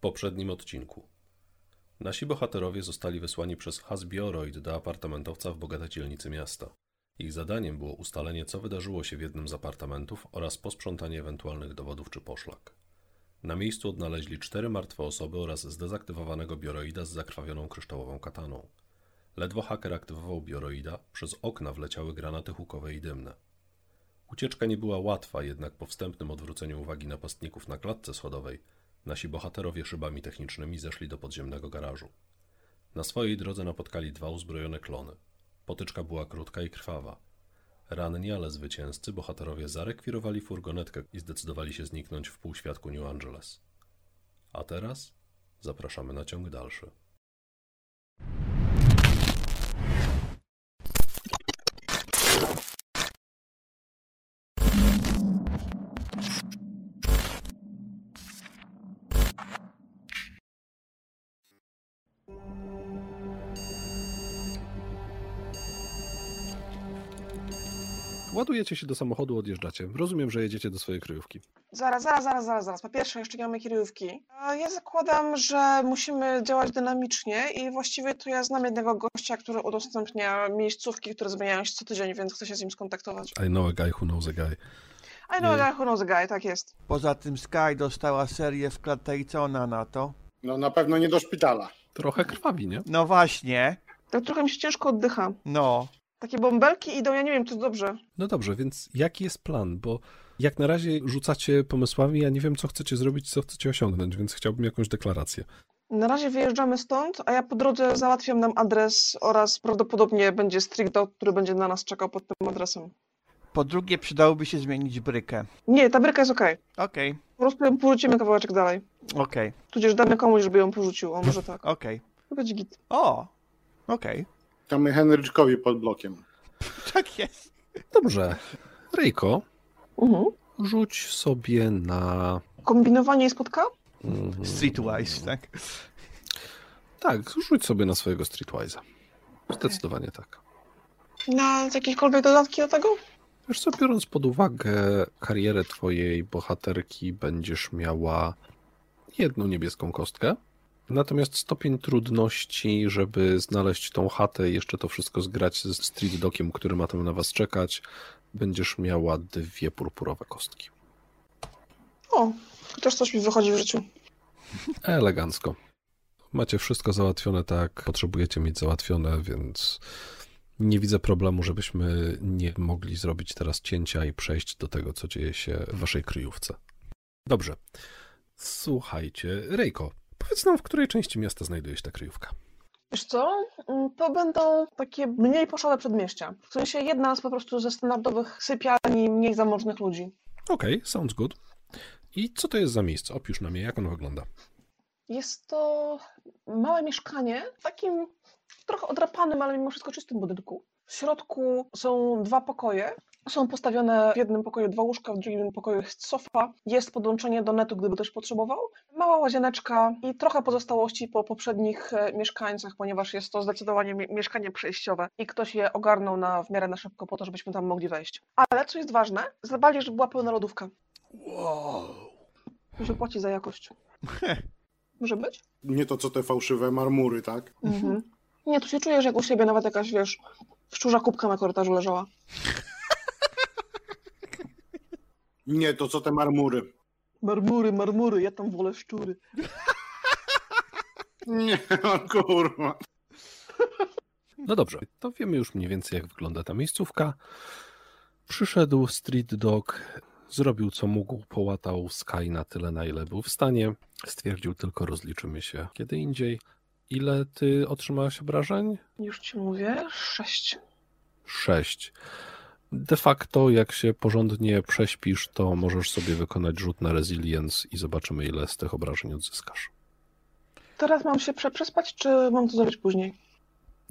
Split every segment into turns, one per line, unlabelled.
poprzednim odcinku. Nasi bohaterowie zostali wysłani przez Hasbioroid do apartamentowca w bogatej dzielnicy miasta. Ich zadaniem było ustalenie, co wydarzyło się w jednym z apartamentów oraz posprzątanie ewentualnych dowodów czy poszlak. Na miejscu odnaleźli cztery martwe osoby oraz zdezaktywowanego bioroida z zakrwawioną kryształową kataną. Ledwo haker aktywował bioroida, przez okna wleciały granaty hukowe i dymne. Ucieczka nie była łatwa, jednak po wstępnym odwróceniu uwagi napastników na klatce schodowej, nasi bohaterowie szybami technicznymi zeszli do podziemnego garażu. Na swojej drodze napotkali dwa uzbrojone klony. Potyczka była krótka i krwawa. Ranni, ale zwycięzcy, bohaterowie zarekwirowali furgonetkę i zdecydowali się zniknąć w półświatku New Angeles. A teraz zapraszamy na ciąg dalszy. Ładujecie się do samochodu, odjeżdżacie. Rozumiem, że jedziecie do swojej kryjówki.
Zaraz, zaraz, zaraz, zaraz, zaraz. Po pierwsze, jeszcze nie mamy kierówki. A Ja zakładam, że musimy działać dynamicznie i właściwie to ja znam jednego gościa, który udostępnia miejscówki, które zmieniają się co tydzień, więc chcę się z nim skontaktować.
I know a guy who knows a guy.
I know
Nie.
that who knows the guy, tak jest.
Poza tym Sky dostała serię w klatę i co ona na to?
No na pewno nie do szpitala.
Trochę krwawi, nie?
No właśnie,
Tak trochę mi się ciężko oddycha.
no.
Takie bąbelki idą, ja nie wiem, czy to dobrze.
No dobrze, więc jaki jest plan? Bo jak na razie rzucacie pomysłami, ja nie wiem, co chcecie zrobić, co chcecie osiągnąć, więc chciałbym jakąś deklarację.
Na razie wyjeżdżamy stąd, a ja po drodze załatwiam nam adres oraz prawdopodobnie będzie street dog, który będzie na nas czekał pod tym adresem.
Po drugie przydałoby się zmienić brykę.
Nie, ta bryka jest okej.
Okej,
Po prostu ją porzucimy kawałeczek dalej.
okej,
Tudzież damy komuś, żeby ją porzucił, on może tak.
okej.
To będzie git.
O, okej.
Tam Henryczkowi pod blokiem.
Tak jest.
Dobrze. Ryjko,
Mhm.
rzuć sobie na.
Kombinowanie i spotka?
Mm,
Streetwise, tak.
tak, rzuć sobie na swojego Streetwise'a. Zdecydowanie tak.
Na jakiekolwiek dodatki do tego?
Wiesz co, biorąc pod uwagę karierę twojej bohaterki, będziesz miała jedną niebieską kostkę. Natomiast stopień trudności, żeby znaleźć tą chatę i jeszcze to wszystko zgrać ze street dokiem, który ma tam na was czekać, będziesz miała dwie purpurowe kostki.
O, też coś mi wychodzi w życiu.
Elegancko. Macie wszystko załatwione tak, jak potrzebujecie mieć załatwione, więc nie widzę problemu, żebyśmy nie mogli zrobić teraz cięcia i przejść do tego, co dzieje się w waszej kryjówce. Dobrze. Słuchajcie, Rejko, powiedz nam, w której części miasta znajduje się ta kryjówka?
Wiesz co? Mm, To będą takie mniej poszłe przedmieścia. W sensie jedna z po prostu ze standardowych sypialni mniej zamożnych ludzi.
Okej, sounds good. I co to jest za miejsce? Opisz nam je, jak ono wygląda.
Jest to małe mieszkanie w takim trochę odrapanym, ale mimo wszystko czystym budynku. W środku są dwa pokoje. Są postawione w jednym pokoju dwa łóżka, w drugim pokoju jest sofa. Jest podłączenie do netu, gdyby też potrzebował. Mała łazieneczka i trochę pozostałości po poprzednich e, mieszkańcach, ponieważ jest to zdecydowanie mie- mieszkanie przejściowe i ktoś je ogarnął na w miarę na szybko po to, żebyśmy tam mogli wejść. Ale co jest ważne, zadbali, żeby była pełna lodówka. Wow. Że płaci za jakość. Może być?
Nie to co te fałszywe marmury, tak?
Mhm. Nie, tu się czujesz jak u siebie, nawet jakaś, wiesz, szczurza kubka na korytarzu leżała.
Nie to co te marmury.
Marmury, marmury, ja tam wolę szczury.
Nie, o kurwa.
No dobrze, to wiemy już mniej więcej, jak wygląda ta miejscówka. Przyszedł Street Dog, zrobił co mógł, połatał Sky na tyle, na ile był w stanie. Stwierdził tylko, rozliczymy się kiedy indziej. Ile ty otrzymałaś obrażeń?
Już ci mówię, sześć.
Sześć. De facto, jak się porządnie prześpisz, to możesz sobie wykonać rzut na Resilience i zobaczymy, ile z tych obrażeń odzyskasz.
Teraz mam się prze- przespać, czy mam to zrobić później?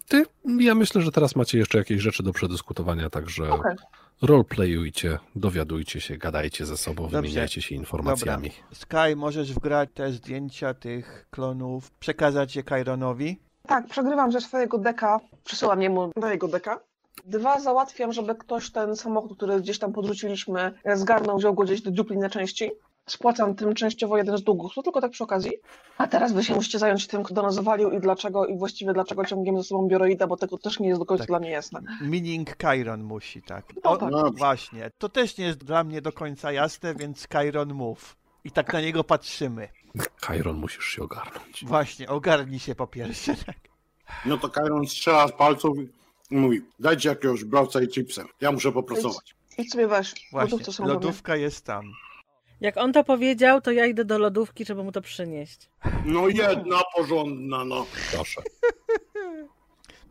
Ty, ja myślę, że teraz macie jeszcze jakieś rzeczy do przedyskutowania, także
Okej.
roleplayujcie, dowiadujcie się, gadajcie ze sobą,
Dobrze.
wymieniajcie się informacjami.
Sky, możesz wgrać te zdjęcia tych klonów, przekazać je Kaironowi?
Tak, przegrywam ze swojego deka, przesyłam jemu do jego deka. Dwa, załatwiam, żeby ktoś ten samochód, który gdzieś tam podrzuciliśmy, e, zgarnął, wziął go gdzieś do dziupli na części. Spłacam tym częściowo jeden z długów, to tylko tak przy okazji. A teraz wy się musicie zająć tym, kto nas zawalił i dlaczego, i właściwie dlaczego ciągniemy ze sobą bioroida, bo tego też nie jest do końca
Tak.
dla mnie jasne.
Mining Chiron musi, tak.
No tak.
Dobrze.
Właśnie. To też nie jest dla mnie do końca jasne, więc Chiron mów. I tak na niego patrzymy.
Chiron, musisz się ogarnąć.
Właśnie, ogarnij się po pierwsze.
No to Kairon strzela z palców i mówi, dajcie jakiegoś browca i chipsem. Ja muszę popracować.
Idź sobie weź,
Właśnie,
lodówce są lodów...
lodówka jest tam.
Jak on to powiedział, to ja idę do lodówki, żeby mu to przynieść.
No jedna porządna, no.
Proszę.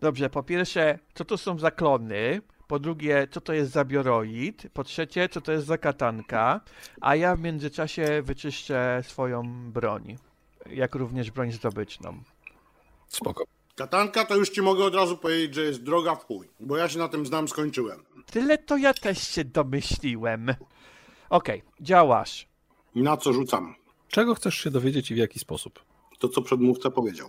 Dobrze, po pierwsze, co to są za klony? Po drugie, co to jest za bioroid? Po trzecie, co to jest za katanka? A ja w międzyczasie wyczyszczę swoją broń, jak również broń zdobyczną.
Spoko.
Katanka to już ci mogę od razu powiedzieć, że jest droga w chuj, bo ja się na tym znam, skończyłem.
Tyle to ja też się domyśliłem. Okej, działasz.
Na co rzucam?
Czego chcesz się dowiedzieć i w jaki sposób?
To, co przedmówca powiedział.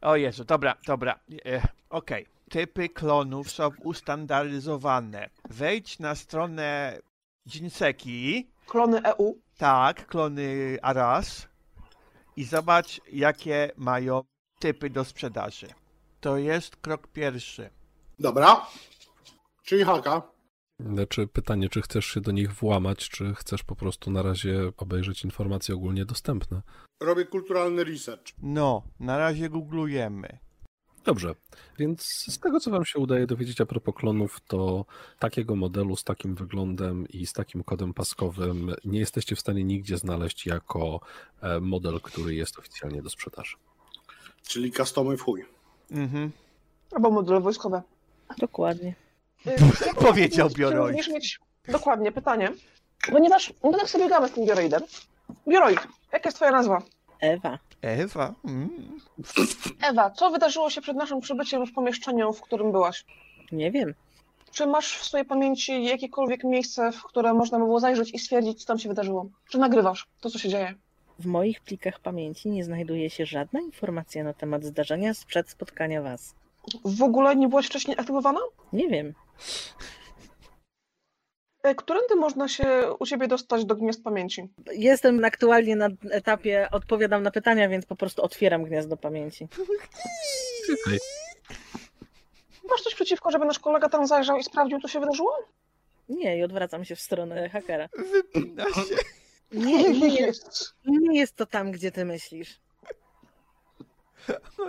O Jezu, dobra, dobra. E, Okej. Typy klonów są ustandaryzowane. Wejdź na stronę Jinseki,
Klony E EU.
tak, klony Aras i zobacz, jakie mają typy do sprzedaży. To jest krok pierwszy.
Dobra. Czyli haka.
Znaczy pytanie, czy chcesz się do nich włamać, czy chcesz po prostu na razie obejrzeć informacje ogólnie dostępne.
Robię kulturalny research.
No, na razie googlujemy.
Dobrze, więc z tego, co wam się udaje dowiedzieć a propos klonów, to takiego modelu z takim wyglądem i z takim kodem paskowym nie jesteście w stanie nigdzie znaleźć jako e, model, który jest oficjalnie do sprzedaży.
Czyli customy w chuj.
Mhm.
Albo modele wojskowe.
Dokładnie.
Y,
Powiedział
czy
bioroid.
Musisz mieć dokładnie pytanie, ponieważ my tak sobie gramy z tym bioroidem. Bioroid, jaka jest twoja nazwa?
Ewa.
Ewa? Mm.
Ewa, co wydarzyło się przed naszym przybyciem w pomieszczeniu, w którym byłaś?
Nie wiem.
Czy masz w swojej pamięci jakiekolwiek miejsce, w które można by było zajrzeć i stwierdzić, co tam się wydarzyło? Czy nagrywasz to, co się dzieje?
W moich plikach pamięci nie znajduje się żadna informacja na temat zdarzenia sprzed spotkania was.
W ogóle nie byłaś wcześniej aktywowana?
Nie wiem.
E, Którędy można się u ciebie dostać do gniazd pamięci?
Jestem aktualnie na etapie odpowiadam na pytania, więc po prostu otwieram gniazdo pamięci.
Masz coś przeciwko, żeby nasz kolega tam zajrzał i sprawdził, co się wydarzyło?
Nie, i odwracam się w stronę hakera.
Wypina się.
Nie, nie, nie, nie jest to tam, gdzie ty myślisz.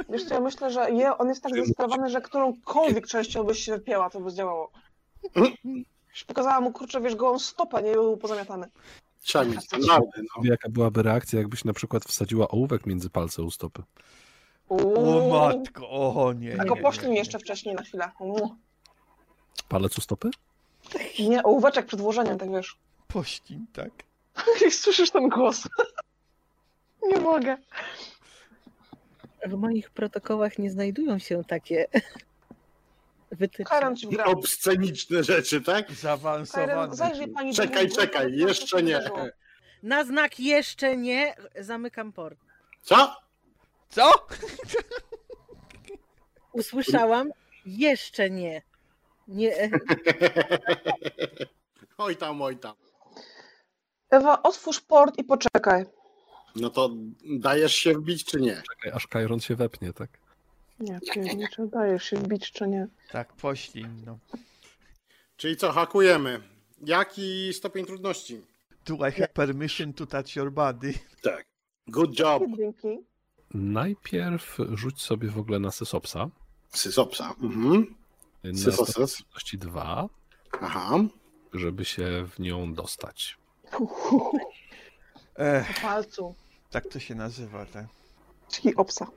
Wiesz co, ja myślę, że je, on jest tak zestrawany, że którąkolwiek częścią byś się wypięła, to by zdziałało. Pokazała mu, kurczę, wiesz, gołą stopę, nie był pozamiatany.
Trzeba mieć standardy, no.
Jaka byłaby reakcja, jakbyś na przykład wsadziła ołówek między palce u stopy?
O
Uuu.
matko, o nie.
A
nie,
go
nie,
poszli mi
nie.
jeszcze wcześniej na chwilę. Mm.
Palec u stopy?
Nie, ołóweczek przed włożeniem, tak wiesz.
Pościn, tak.
I słyszysz ten głos. Nie mogę.
W moich protokołach nie znajdują się takie wytyczne.
Karen ci wgra.
Obsceniczne rzeczy, tak?
Karen,
Zaawansowany.
zajrzyj pani do
Czekaj,
mózgu,
czekaj,
zobacz, co
jeszcze
się
nie.
wydarzyło.
Na znak jeszcze nie zamykam port.
Co?
Co?
Usłyszałam jeszcze nie. Nie, e,
Oj tam, oj tam.
Ewa, otwórz port i poczekaj.
No to dajesz się wbić, czy nie?
Czekaj, aż Chiron się wepnie, tak?
Nie, pierniczę, dajesz się wbić czy nie.
Tak, pościn, no.
Czyli co, hakujemy. Jaki stopień trudności?
Do I have permission to touch your body?
Tak. Good job,
Dzięki.
Najpierw rzuć sobie w ogóle na Sysopsa.
sysopsa. Mhm.
Na
Sysosys.
stopień trudności 2,
Aha.
żeby się w nią dostać.
Ech,
Po palcu.
E, tak to się nazywa, tak?
Czyli obsa.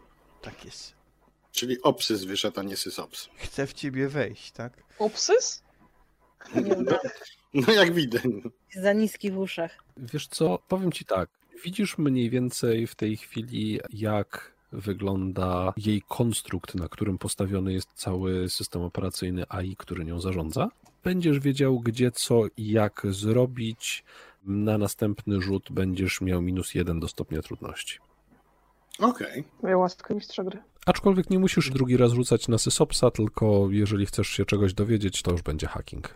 Tak jest.
Czyli obsys wyszedł, a nie sysops.
Chcę w ciebie wejść, tak?
Obsys?
nie mam
No jak widać.
za niski w uszach.
Wiesz co, powiem ci tak. Widzisz mniej więcej w tej chwili, jak wygląda jej konstrukt, na którym postawiony jest cały system operacyjny AI, który nią zarządza. Będziesz wiedział, gdzie co i jak zrobić. Na następny rzut będziesz miał minus jeden do stopnia trudności.
Okej.
Moja łaska mistrza gry.
Aczkolwiek nie musisz drugi raz rzucać na Sysopsa, tylko jeżeli chcesz się czegoś dowiedzieć, to już będzie hacking.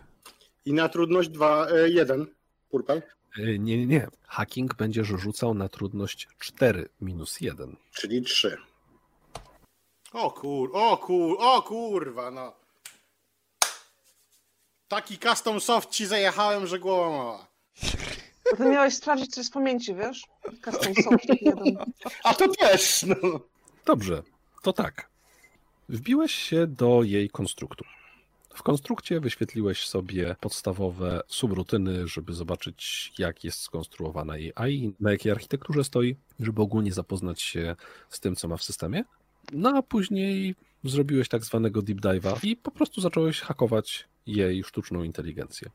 I na trudność dwa, e, jeden. Purpel.
Y, Nie, nie, nie. Hacking będziesz rzucał na trudność 4 minus 1.
Czyli trzy. O kur, o kur, o kurwa, no. Taki custom soft ci zajechałem, że głowa mała.
Ty miałeś sprawdzić coś z pamięci, wiesz? Custom soft jeden.
A to też, no.
Dobrze, to tak. Wbiłeś się do jej konstruktu. W konstrukcie wyświetliłeś sobie podstawowe subrutyny, żeby zobaczyć, jak jest skonstruowana jej AI, na jakiej architekturze stoi, żeby ogólnie zapoznać się z tym, co ma w systemie. No a później zrobiłeś tak zwanego deep dive'a i po prostu zacząłeś hakować jej sztuczną inteligencję.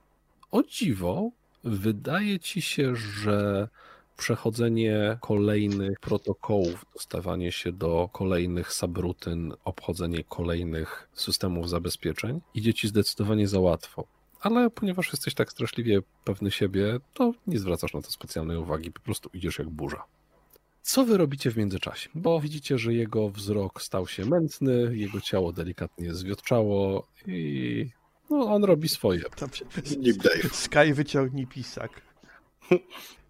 O dziwo, wydaje ci się, że przechodzenie kolejnych protokołów, dostawanie się do kolejnych subrutyn, obchodzenie kolejnych systemów zabezpieczeń idzie ci zdecydowanie za łatwo. Ale ponieważ jesteś tak straszliwie pewny siebie, to nie zwracasz na to specjalnej uwagi, po prostu idziesz jak burza. Co wy robicie w międzyczasie? Bo widzicie, że jego wzrok stał się mętny, jego ciało delikatnie zwiotczało i no, on robi swoje.
Dobrze.
Deep dive.
Sky wyciągnij pisak.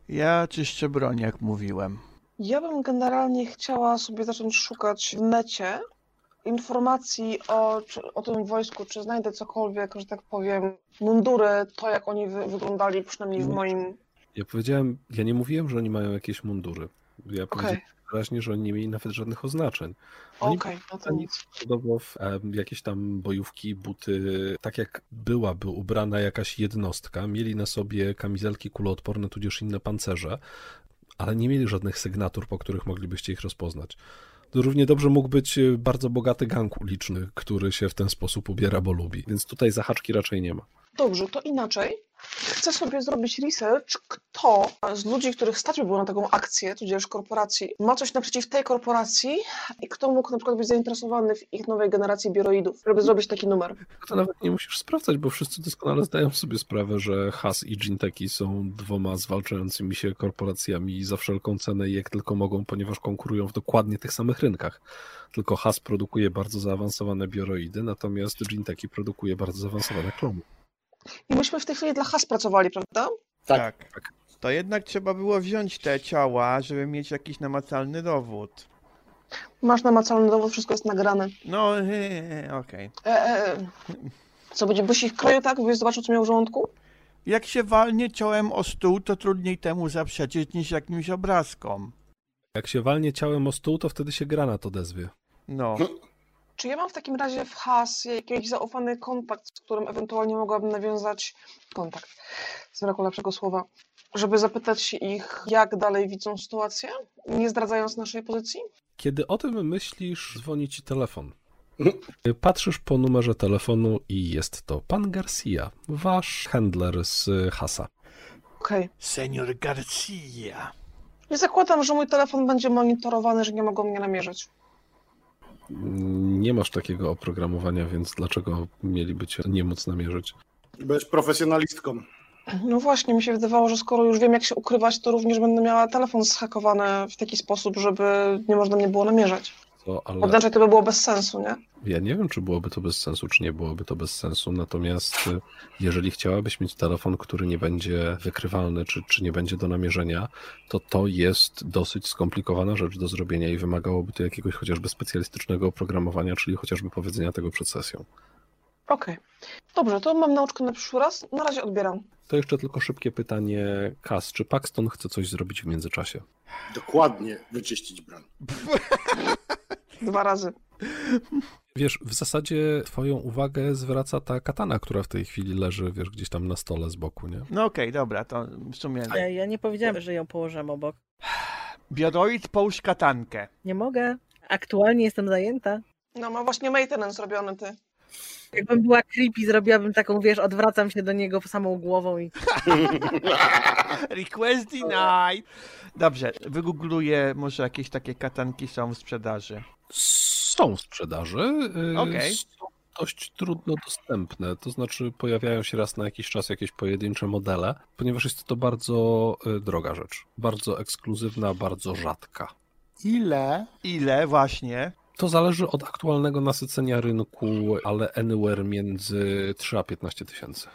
Ja czyszczę broń, jak mówiłem.
Ja bym generalnie chciała sobie zacząć szukać w necie informacji o, czy, o tym wojsku, czy znajdę cokolwiek, że tak powiem, mundury, to jak oni wy, wyglądali, przynajmniej w moim...
Ja powiedziałem, ja nie mówiłem, że oni mają jakieś mundury. Ja powiedziałem
Okej,
wyraźnie, że oni nie mieli nawet żadnych oznaczeń. Oni
okej, no to nic.
podobno w em, jakieś tam bojówki, buty, tak jak byłaby ubrana jakaś jednostka, mieli na sobie kamizelki kuloodporne, tudzież inne pancerze, ale nie mieli żadnych sygnatur, po których moglibyście ich rozpoznać. To Równie dobrze mógł być e, bardzo bogaty gang uliczny, który się w ten sposób ubiera, bo lubi, więc tutaj zahaczki raczej nie ma.
Dobrze, to inaczej. Chcę sobie zrobić research, kto z ludzi, których stać by było na taką akcję, tudzież korporacji, ma coś naprzeciw tej korporacji i kto mógł na przykład być zainteresowany w ich nowej generacji bioroidów, żeby zrobić taki numer.
To nawet nie musisz sprawdzać, bo wszyscy doskonale zdają sobie sprawę, że Has i Ginteki są dwoma zwalczającymi się korporacjami za wszelką cenę i jak tylko mogą, ponieważ konkurują w dokładnie tych samych rynkach. Tylko Has produkuje bardzo zaawansowane bioroidy, natomiast Ginteki produkuje bardzo zaawansowane klomy.
I myśmy w tej chwili dla has pracowali, prawda?
Tak.
To jednak trzeba było wziąć te ciała, żeby mieć jakiś namacalny dowód.
Masz namacalny dowód, wszystko jest nagrane.
No, he, he, he, okej.
E, e, e. Co będzie byś ich kroił, tak? Byś zobaczył, co miał w żołądku?
Jak się walnie ciałem o stół, to trudniej temu zaprzeczyć niż jakimś obrazkom.
Jak się walnie ciałem o stół, to wtedy się granat odezwie.
No,
Czy ja mam w takim razie w has jakiś zaufany kontakt, z którym ewentualnie mogłabym nawiązać kontakt, z braku lepszego słowa, żeby zapytać się ich, jak dalej widzą sytuację, nie zdradzając naszej pozycji?
Kiedy o tym myślisz, dzwoni ci telefon. Patrzysz po numerze telefonu i jest to pan Garcia, wasz handler z Hasa.
Okej.
senior Garcia.
Nie zakładam, że mój telefon będzie monitorowany, że nie mogą mnie namierzyć.
Nie masz takiego oprogramowania, więc dlaczego mieliby cię nie móc namierzyć?
Będziesz profesjonalistką.
No właśnie, mi się wydawało, że skoro już wiem, jak się ukrywać, to również będę miała telefon zhakowany w taki sposób, żeby nie można mnie było namierzać.
To, ale
Odnaczać to by było bez sensu, nie?
ja nie wiem, czy byłoby to bez sensu, czy nie byłoby to bez sensu. Natomiast y, jeżeli chciałabyś mieć telefon, który nie będzie wykrywalny, czy, czy nie będzie do namierzenia, to to jest dosyć skomplikowana rzecz do zrobienia i wymagałoby to jakiegoś chociażby specjalistycznego oprogramowania, czyli chociażby powiedzenia tego przed sesją.
Okej. Dobrze, to mam nauczkę na przyszły raz. Na razie odbieram.
To jeszcze tylko szybkie pytanie, Kas, czy Paxton chce coś zrobić w międzyczasie?
Dokładnie wyczyścić broń.
Dwa razy.
Wiesz, w zasadzie twoją uwagę zwraca ta katana, która w tej chwili leży, wiesz, gdzieś tam na stole z boku, nie?
No okej, dobra, to w sumie...
Ja, ja nie powiedziałem, że ją położyłam obok.
Bioroid, połóż katankę.
Nie mogę. Aktualnie jestem zajęta.
No ma właśnie maintenance robiony ty.
Jakbym była creepy, zrobiłabym taką, wiesz, odwracam się do niego samą głową i
Request denied. Dobrze, wygoogluję, może jakieś takie katanki są w sprzedaży.
Są w sprzedaży. y,
Okej.
Są dość trudno dostępne, to znaczy pojawiają się raz na jakiś czas jakieś pojedyncze modele, ponieważ jest to bardzo y, droga rzecz, bardzo ekskluzywna, bardzo rzadka.
Ile? Ile właśnie?
To zależy od aktualnego nasycenia rynku, ale anywhere między 3 a 15 tysięcy.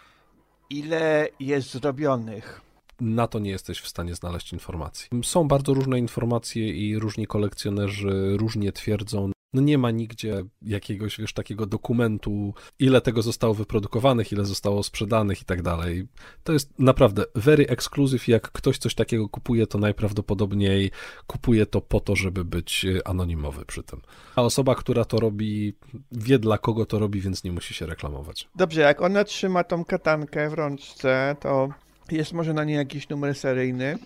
Ile jest zrobionych?
Na to nie jesteś w stanie znaleźć informacji. Są bardzo różne informacje i różni kolekcjonerzy różnie twierdzą. No nie ma nigdzie jakiegoś, wiesz, takiego dokumentu, ile tego zostało wyprodukowanych, ile zostało sprzedanych i tak dalej. To jest naprawdę very exclusive. Jak ktoś coś takiego kupuje, to najprawdopodobniej kupuje to po to, żeby być e, anonimowy przy tym. A osoba, która to robi, wie dla kogo to robi, więc nie musi się reklamować.
Dobrze, jak ona trzyma tą katankę w rączce, to jest może na niej jakiś numer seryjny?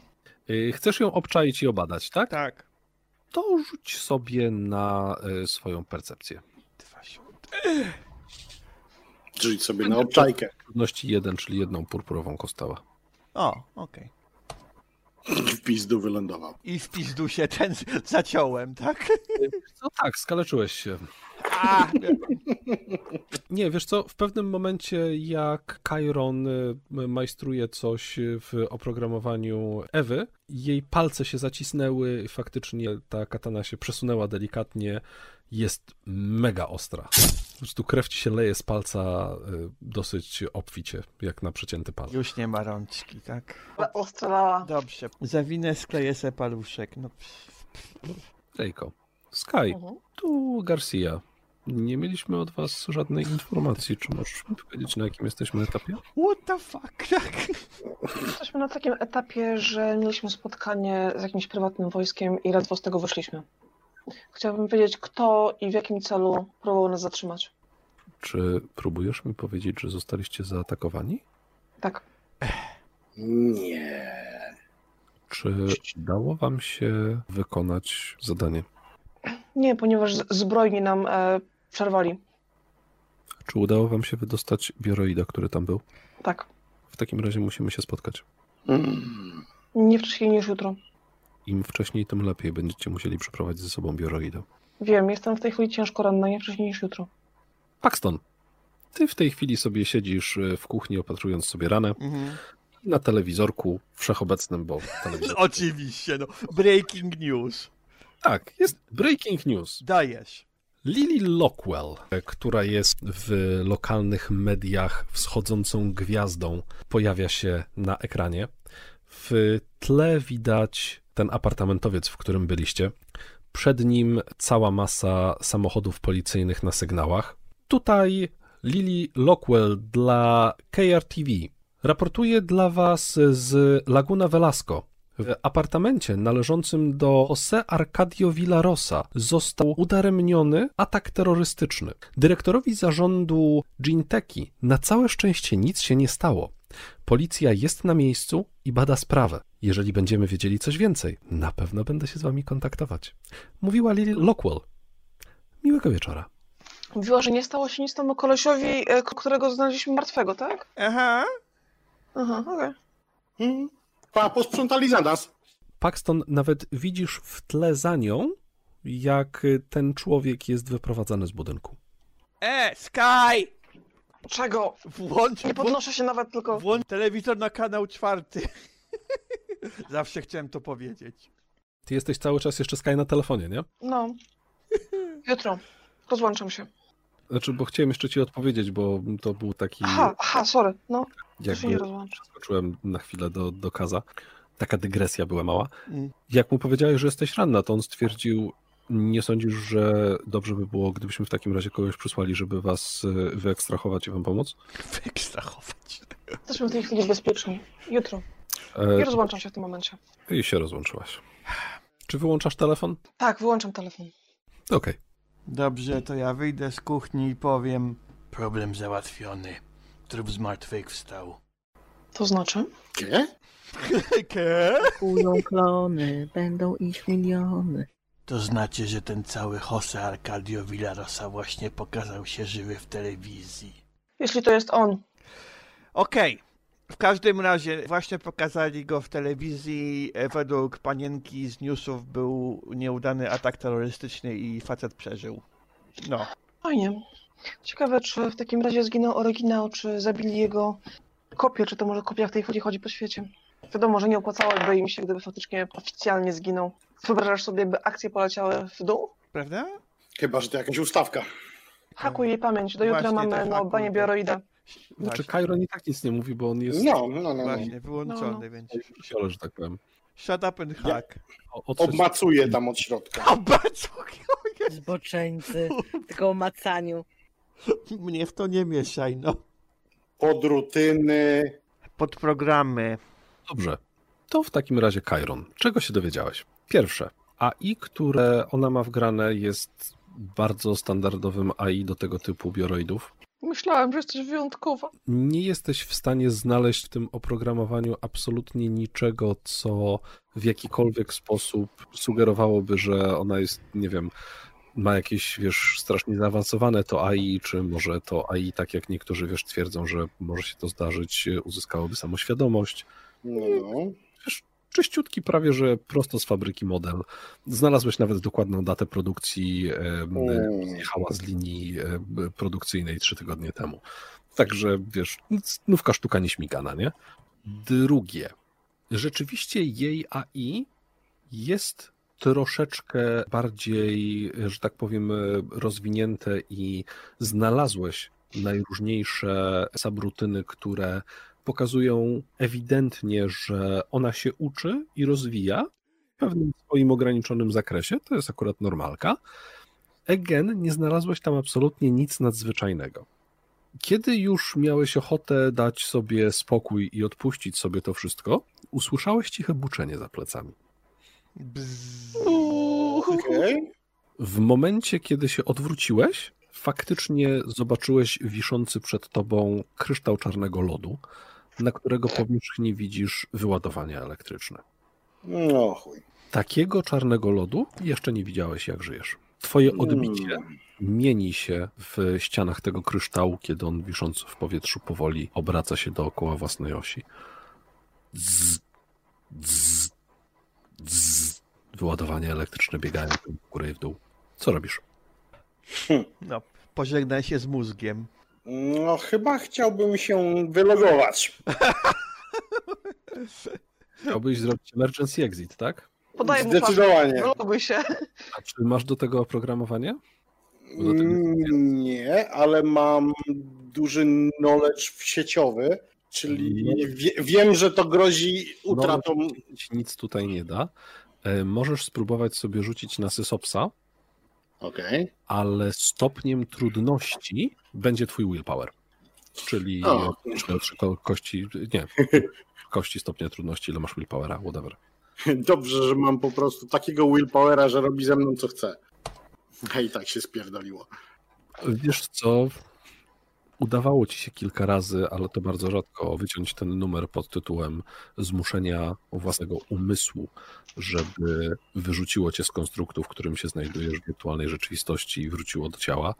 Y, Chcesz ją obczaić i obadać, tak?
Tak.
To rzuć sobie na y, swoją percepcję.
Dwa siódme.
Czyli sobie na obczajkę.
Trudności 1, czyli jedną purpurową kostała.
O, okej.
W pizdu wylądował.
I w pizdu się ten z- zaciąłem, tak?
No tak, skaleczyłeś się.
A,
Nie, wiesz co, w pewnym momencie jak Chiron y, majstruje coś w oprogramowaniu Ewy, jej palce się zacisnęły, faktycznie ta katana się przesunęła delikatnie, jest mega ostra. Po prostu krew ci się leje z palca y, dosyć obficie, jak na przecięty palec.
już nie ma rączki, tak?
Ale ostrzelała.
Dobrze, zawinę, skleję se paluszek. No, pff.
Rejko, Sky,
Mhm.
tu Garcia. Nie mieliśmy od was żadnej informacji. Czy możesz mi powiedzieć, na jakim jesteśmy etapie?
what the fuck, tak?
Jesteśmy na takim etapie, że mieliśmy spotkanie z jakimś prywatnym wojskiem i ledwo z tego wyszliśmy. Chciałabym wiedzieć, kto i w jakim celu próbował nas zatrzymać.
Czy próbujesz mi powiedzieć, że zostaliście zaatakowani?
Tak.
Nie.
Czy udało wam się wykonać zadanie?
Nie, ponieważ z- zbrojni nam e, przerwali.
Czy udało wam się wydostać bioroida, który tam był?
Tak.
W takim razie musimy się spotkać.
Mm.
Nie wcześniej niż jutro.
Im wcześniej, tym lepiej. Będziecie musieli przyprowadzić ze sobą bioroida.
Wiem, jestem w tej chwili ciężko ranna, nie wcześniej niż jutro.
Paxton, ty w tej chwili sobie siedzisz e, w kuchni, opatrując sobie ranę
Mhm.
na telewizorku wszechobecnym, bo telewizor...
Oczywiście, no. Breaking news.
Tak, jest breaking news.
Dajesz.
Lily Lockwell, e, która jest w lokalnych mediach wschodzącą gwiazdą, pojawia się na ekranie. W tle widać ten apartamentowiec, w którym byliście. Przed nim cała masa samochodów policyjnych na sygnałach. Tutaj Lily Lockwell dla KRTV raportuje dla Was z Laguna Velasco. W apartamencie należącym do Jose Arcadio Villarosa został udaremniony atak terrorystyczny. Dyrektorowi zarządu Ginteki na całe szczęście nic się nie stało. Policja jest na miejscu i bada sprawę. Jeżeli będziemy wiedzieli coś więcej, na pewno będę się z wami kontaktować. Mówiła Lily Lockwell. Miłego wieczora.
Mówiła, że nie stało się nic temu kolesiowi, e, k- którego znaleźliśmy martwego, tak?
Aha.
Aha, okej.
Mm. Pa, posprzątali za nas.
Paxton, nawet widzisz w tle za nią, jak ten człowiek jest wyprowadzany z budynku.
E, Sky!
Czego?
Włącz,
Nie
włącz,
podnoszę się nawet, tylko...
włącz telewizor na kanał czwarty. Zawsze chciałem to powiedzieć.
Ty jesteś cały czas jeszcze Sky na telefonie, nie?
No. Jutro. Rozłączam się.
Mm.
Znaczy, bo chciałem jeszcze ci odpowiedzieć, bo to był taki,
Aha, aha, sorry. No, to się nie
jakby
rozłączę.
skoczyłem na chwilę do, do kaza. Taka dygresja była mała.
Mm.
Jak mu powiedziałeś, że jesteś ranna, to on stwierdził, nie sądzisz, że dobrze by było, gdybyśmy w takim razie kogoś przysłali, żeby was y, wyekstrahować i wam pomóc?
Wyekstrahować.
Jesteśmy w tej chwili bezpieczni. Jutro. Nie
E,
rozłączam się w tym momencie.
I się rozłączyłaś. Czy wyłączasz telefon?
Tak, wyłączam telefon.
Okej.
Dobrze, to ja wyjdę z kuchni i powiem... Problem załatwiony. Trup z martwych wstał.
To znaczy?
Gdzie?
Kują klony, będą ich miliony.
To znaczy, że ten cały Jose Arcadio Villarosa właśnie pokazał się żywy w telewizji.
Jeśli to jest on.
Okej. W każdym razie właśnie pokazali go w telewizji. E, Według panienki z newsów był nieudany atak terrorystyczny i facet przeżył. No.
Fajnie. Ciekawe, czy w takim razie zginął oryginał, czy zabili jego kopię, czy to może kopia w tej chwili chodzi po świecie. Wiadomo, że nie opłacałoby im się, gdyby faktycznie oficjalnie zginął. Wyobrażasz sobie, by akcje poleciały w dół?
Prawda?
Chyba, że to jakaś ustawka.
Hakuj jej pamięć. Do jutra
Właśnie,
mamy
tak,
na
hakuj,
obanie
tak.
bioroida.
Właśnie,
Znaczy, Kairon i tak nic nie mówi, bo on jest
No, no, no. no.
właśnie wyłączony, więc.
w siole, że tak powiem.
Shut up and hack.
O, o coś-
Obmacuje tam od środka.
A bacuch,
Zboczeńcy. Tylko o macaniu.
Mnie w to nie mieszaj, no.
Pod rutyny.
Podprogramy.
Dobrze. To w takim razie Kairon. Czego się dowiedziałeś? Pierwsze, AI, które ona ma wgrane, jest bardzo standardowym AI do tego typu bioroidów.
Myślałam, że jesteś wyjątkowa.
Nie jesteś w stanie znaleźć w tym oprogramowaniu absolutnie niczego, co w jakikolwiek sposób sugerowałoby, że ona jest, nie wiem, ma jakieś, wiesz, strasznie zaawansowane to AI, czy może to AI, tak jak niektórzy, wiesz, twierdzą, że może się to zdarzyć, uzyskałoby samoświadomość.
No, no.
czyściutki, prawie że prosto z fabryki model. Znalazłeś nawet dokładną datę produkcji, em,
Mm.
zjechała z linii em, produkcyjnej trzy tygodnie temu. Także wiesz, nówka sztuka nieśmigana, nie? Drugie, rzeczywiście jej AI jest troszeczkę bardziej, że tak powiem, rozwinięte i znalazłeś najróżniejsze sabrutyny, które pokazują ewidentnie, że ona się uczy i rozwija w pewnym swoim ograniczonym zakresie. To jest akurat normalka. Again, nie znalazłeś tam absolutnie nic nadzwyczajnego. Kiedy już miałeś ochotę dać sobie spokój i odpuścić sobie to wszystko, usłyszałeś ciche buczenie za plecami.
Bzz.
Okej.
W momencie, kiedy się odwróciłeś, faktycznie zobaczyłeś wiszący przed tobą kryształ czarnego lodu, na którego powierzchni widzisz wyładowania elektryczne.
No chuj.
Takiego czarnego lodu jeszcze nie widziałeś, jak żyjesz. Twoje odbicie
Mm.
mieni się w ścianach tego kryształu, kiedy on wisząc w powietrzu powoli obraca się dookoła własnej osi. Dz, dz, dz. Wyładowania elektryczne biegają w górę i w dół. Co robisz?
No, pożegnaj się z mózgiem.
No chyba chciałbym się wylogować.
Chciałbyś zrobić emergency exit, tak?
Podaję mu flaszkę.
Zdecydowanie.
Wyloguj się.
A czy masz do tego oprogramowanie? Bo do tego-
Mm, Nie, ale mam duży knowledge w sieciowy, czyli wie, wiem, że to grozi utratą.
Ci Nic tutaj nie da. E, Możesz spróbować sobie rzucić na Sysopsa,
Okej.
ale stopniem trudności będzie twój willpower. Czyli
O.
czy, czy to kości, nie, kości stopnia trudności, ile masz willpowera, whatever.
Dobrze, że mam po prostu takiego willpowera, że robi ze mną co chce. Hej, tak się spierdoliło.
Wiesz co, udawało ci się kilka razy, ale to bardzo rzadko, wyciąć ten numer pod tytułem zmuszenia własnego umysłu, żeby wyrzuciło cię z konstruktu, w którym się znajdujesz w wirtualnej rzeczywistości i wróciło do ciała.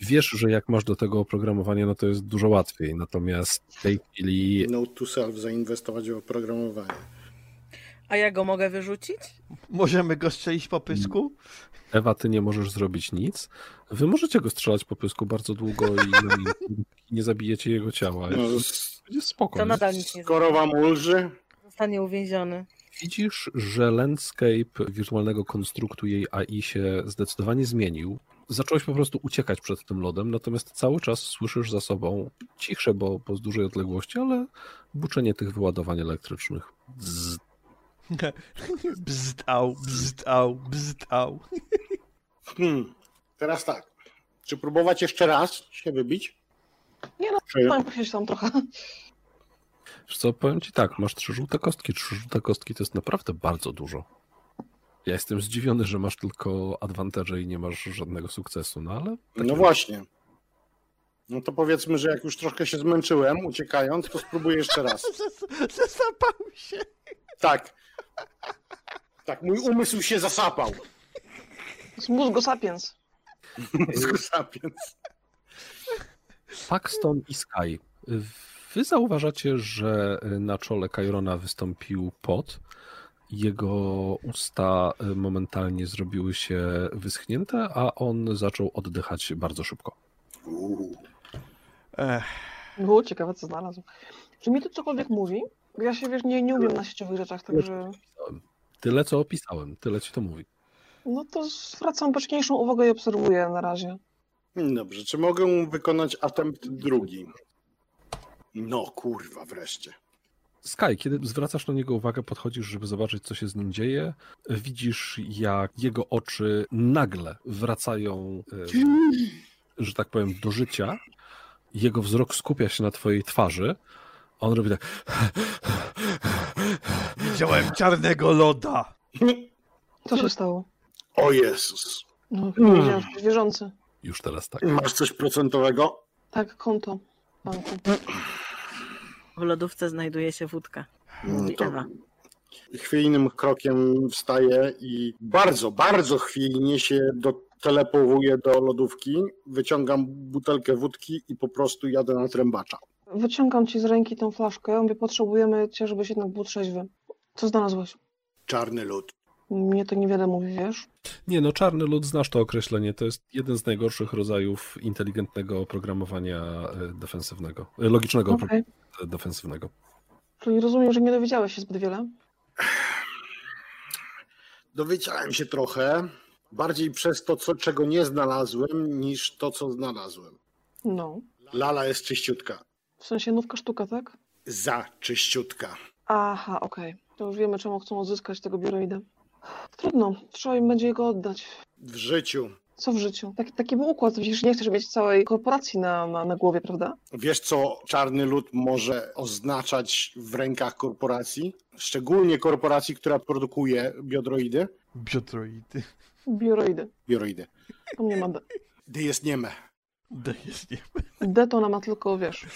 Wiesz, że jak masz do tego oprogramowanie, no to jest dużo łatwiej, natomiast w tej chwili
No to self zainwestować w oprogramowanie.
A ja go mogę wyrzucić?
Możemy go strzelić po pysku?
Ewa, ty nie możesz zrobić nic. Wy możecie go strzelać po pysku bardzo długo i no i nie zabijecie jego ciała.
No,
Będzie spoko.
To
nie?
nadal nic nie
skoro wam ulży,
Zostanie uwięziony.
Widzisz, że landscape wirtualnego konstruktu jej AI się zdecydowanie zmienił. Zacząłeś po prostu uciekać przed tym lodem, natomiast cały czas słyszysz za sobą cichsze, bo, bo z dużej odległości, ale buczenie tych wyładowań elektrycznych. Zzz.
Hmm. Bzdał, bzdał, bzdał.
Hmm. Teraz tak. Czy próbować jeszcze raz się wybić?
Nie no,
Czy...
Mam posiedzieć tam trochę.
Wiesz co, powiem ci tak, masz trzy żółte kostki. Trzy żółte kostki to jest naprawdę bardzo dużo. Ja jestem zdziwiony, że masz tylko advantage i nie masz żadnego sukcesu, no ale...
No właśnie. No to powiedzmy, że jak już troszkę się zmęczyłem uciekając, to spróbuję jeszcze raz.
Zas- Zasapał się.
Tak. Tak, mój umysł się zasapał.
Z mózgu sapiens.
Zasapiąc.
Paxton i Sky. Wy zauważacie, że na czole Kairona wystąpił pot. Jego usta momentalnie zrobiły się wyschnięte, a on zaczął oddychać bardzo szybko.
Uuu.
Ech,
Było ciekawe, co znalazł. Czy mi to cokolwiek mówi? Bo Ja się, wiesz, nie, nie umiem na sieciowych rzeczach, także...
Tyle, co opisałem, tyle ci to mówi.
No to zwracam baczniejszą uwagę i obserwuję na razie.
Dobrze, czy mogę wykonać attempt drugi? No kurwa, wreszcie.
Sky, kiedy zwracasz na niego uwagę, podchodzisz, żeby zobaczyć, co się z nim dzieje, widzisz, jak jego oczy nagle wracają, em, że tak powiem, do życia. Jego wzrok skupia się na twojej twarzy. a On robi tak.
Widziałem czarnego loda.
Co się stało?
O Jezus.
No,
Mm.
powiedziałam, że wierzący.
Już teraz tak.
Masz coś procentowego?
Tak, konto. banku.
W lodówce znajduje się wódka. Mówi
No To
Ewa.
chwiejnym krokiem wstaje i bardzo, bardzo chwiejnie się do, telepowuję do lodówki, wyciągam butelkę wódki i po prostu jadę na trębacza.
Wyciągam ci z ręki tą flaszkę. Mówię, potrzebujemy cię, żebyś jednak był trzeźwy. Co znalazłeś?
Czarny lód.
Mnie to niewiele mówi, wiesz?
Nie no, czarny lud, znasz to określenie. To jest jeden z najgorszych rodzajów inteligentnego oprogramowania e, defensywnego, e, logicznego
Okej.
oprogramowania defensywnego.
Czyli rozumiem, że nie dowiedziałeś się zbyt wiele.
Dowiedziałem się trochę, bardziej przez to, co, czego nie znalazłem, niż to, co znalazłem.
No.
Lala jest czyściutka.
W sensie nówka sztuka, tak?
Za czyściutka.
Aha, okej. To już wiemy, czemu chcą odzyskać tego biuroida. Trudno. Trzeba im będzie go oddać.
W życiu.
Co w życiu? Tak, taki był układ. Widzisz, nie chcesz mieć całej korporacji na, na, na głowie, prawda?
Wiesz, co czarny lud może oznaczać w rękach korporacji? Szczególnie korporacji, która produkuje biodroidy.
Biotroidy.
Biuroidy.
Bioroidy.
Tam nie ma D.
Gdy jest nieme.
D jest nie.
D to ona ma tylko, wiesz...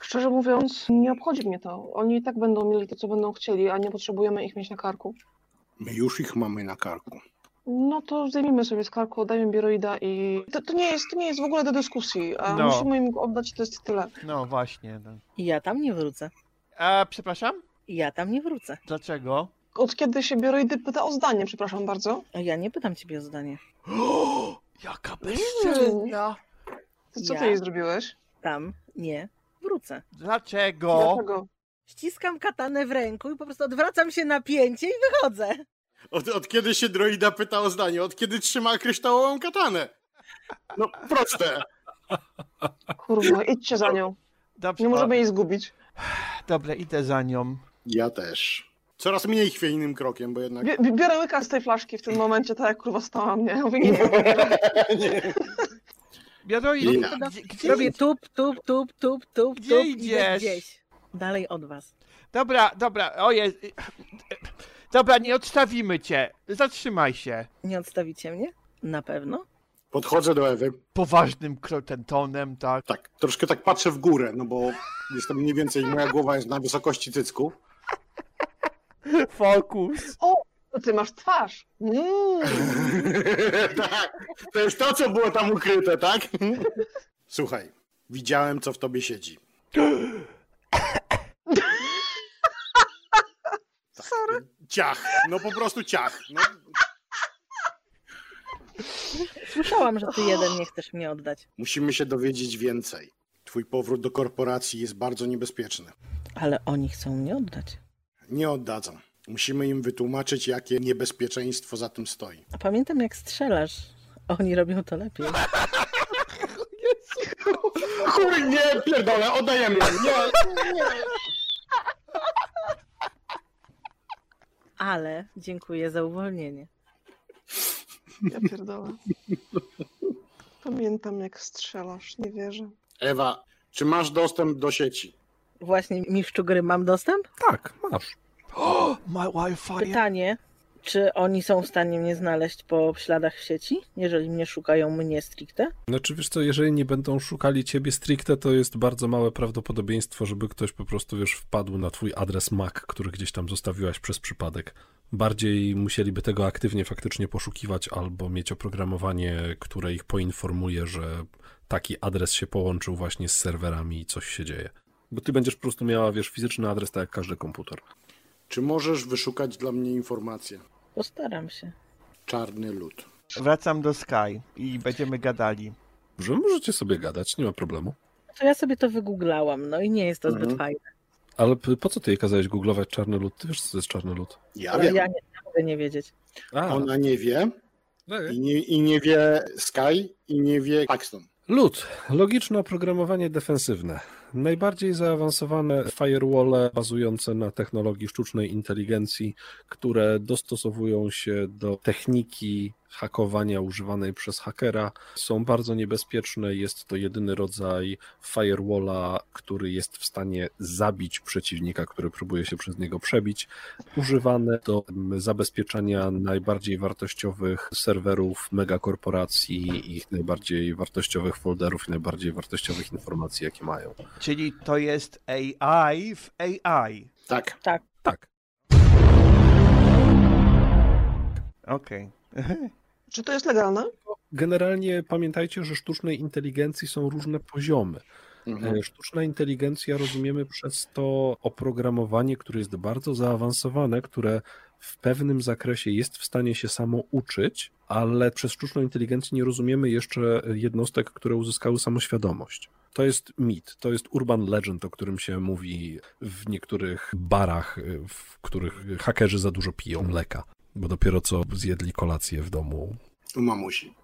Szczerze mówiąc, nie obchodzi mnie to. Oni i tak będą mieli to, co będą chcieli, a nie potrzebujemy ich mieć na karku.
My już ich mamy na karku.
No to zdejmijmy sobie z karku, oddajmy biuroida i... To, to, nie, jest, to nie jest w ogóle do dyskusji, a
No.
musimy im go oddać i to jest tyle.
No właśnie. No.
Ja tam nie wrócę.
A przepraszam?
Ja tam nie wrócę.
Dlaczego?
Od kiedy się biuroidy pyta o zdanie, przepraszam bardzo.
A Ja nie pytam ciebie o zdanie.
Jaka
no.
bezczelna!
To co
Ja?
ty jej zrobiłeś?
Tam nie wrócę.
Dlaczego?
Dlaczego?
Ściskam katanę w ręku i po prostu odwracam się napięcie i wychodzę.
Od, od kiedy się droida pyta o zdanie? Od kiedy trzyma kryształową katanę? No proste.
Kurwa, idźcie za nią.
Dobrze,
Nie możemy jej zgubić.
Dobra, idę za nią.
Ja też. Coraz mniej chwiejnym krokiem, bo jednak...
Bi- bi- biorę łyka z tej flaszki w tym momencie, tak jak kurwa stałam, nie? Mówię, nie
No.
mogę.
Bioroi,
Lina.
gdzie, gdzie,
Robię tup, tup, tup, tup, tup,
Gdzie
tup
idziesz?
idę gdzieś. Dalej od was.
Dobra, dobra, oje. Dobra, nie odstawimy cię. Zatrzymaj się.
Nie odstawicie mnie? Na pewno.
Podchodzę do Ewy.
Poważnym krotem tonem, tak.
Tak, troszkę tak patrzę w górę, no bo jestem mniej więcej, moja głowa jest na wysokości cycku.
Fokus.
To Ty masz twarz. Mm.
tak, to jest to, co było tam ukryte, tak? Słuchaj, widziałem, co w tobie siedzi. Tak,
Sorry.
Ciach, no po prostu ciach. No,
Słyszałam, że ty jeden nie chcesz mnie oddać.
musimy się dowiedzieć więcej. Twój powrót do korporacji jest bardzo niebezpieczny.
Ale oni chcą mnie oddać.
Nie oddadzą. Musimy im wytłumaczyć, jakie niebezpieczeństwo za tym stoi.
A pamiętam jak strzelasz. Oni robią to lepiej.
Chuj, nie, pierdolę, oddajemy. Nie,
Ale dziękuję za uwolnienie.
Ja pierdolę. Pamiętam, jak strzelasz, nie wierzę.
Ewa, czy masz dostęp do sieci?
Właśnie mistrzu gry mam dostęp?
Tak, masz.
O, my Wi-Fi.
Pytanie, czy oni są w stanie mnie znaleźć po śladach w sieci, jeżeli mnie szukają mnie stricte?
Znaczy wiesz co, jeżeli nie będą szukali ciebie stricte, to jest bardzo małe prawdopodobieństwo, żeby ktoś po prostu wiesz wpadł na twój adres MAC, który gdzieś tam zostawiłaś przez przypadek. Bardziej musieliby tego aktywnie faktycznie poszukiwać albo mieć oprogramowanie, które ich poinformuje, że taki adres się połączył właśnie z serwerami i coś się dzieje. Bo ty będziesz po prostu miała, wiesz, fizyczny adres tak jak każdy komputer.
Czy możesz wyszukać dla mnie informację?
Postaram się.
Czarny lud.
Wracam do Sky i będziemy gadali.
Że możecie sobie gadać, nie ma problemu.
To ja sobie to wygooglałam, no i nie jest to zbyt
Mhm.
fajne.
Ale p- po co ty jej kazałeś googlować czarny lód? Ty wiesz, co to jest czarny lód.
Ja
Ale
wiem.
ja nie mogę nie wiedzieć.
A,
Ona nie wie, I nie, I nie wie Sky i nie wie Paxton.
Lud, logiczne oprogramowanie defensywne. Najbardziej zaawansowane firewalle bazujące na technologii sztucznej inteligencji, które dostosowują się do techniki hakowania używanej przez hakera, są bardzo niebezpieczne. Jest to jedyny rodzaj firewalla, który jest w stanie zabić przeciwnika, który próbuje się przez niego przebić. Używane do mm, zabezpieczania najbardziej wartościowych serwerów megakorporacji, ich najbardziej wartościowych folderów i najbardziej wartościowych informacji, jakie mają.
Czyli to jest AI w AI.
Tak.
Tak.
Tak.
Okej.
Czy to jest legalne?
Generalnie pamiętajcie, że sztucznej inteligencji są różne poziomy.
Mhm.
E, Sztuczna inteligencja rozumiemy przez to oprogramowanie, które jest bardzo zaawansowane, które w pewnym zakresie jest w stanie się samo uczyć, ale przez sztuczną inteligencję nie rozumiemy jeszcze jednostek, które uzyskały samoświadomość. To jest mit, to jest urban legend, o którym się mówi w niektórych barach, y, w których hakerzy za dużo piją mleka, bo dopiero co zjedli kolację w domu.
U mamusi.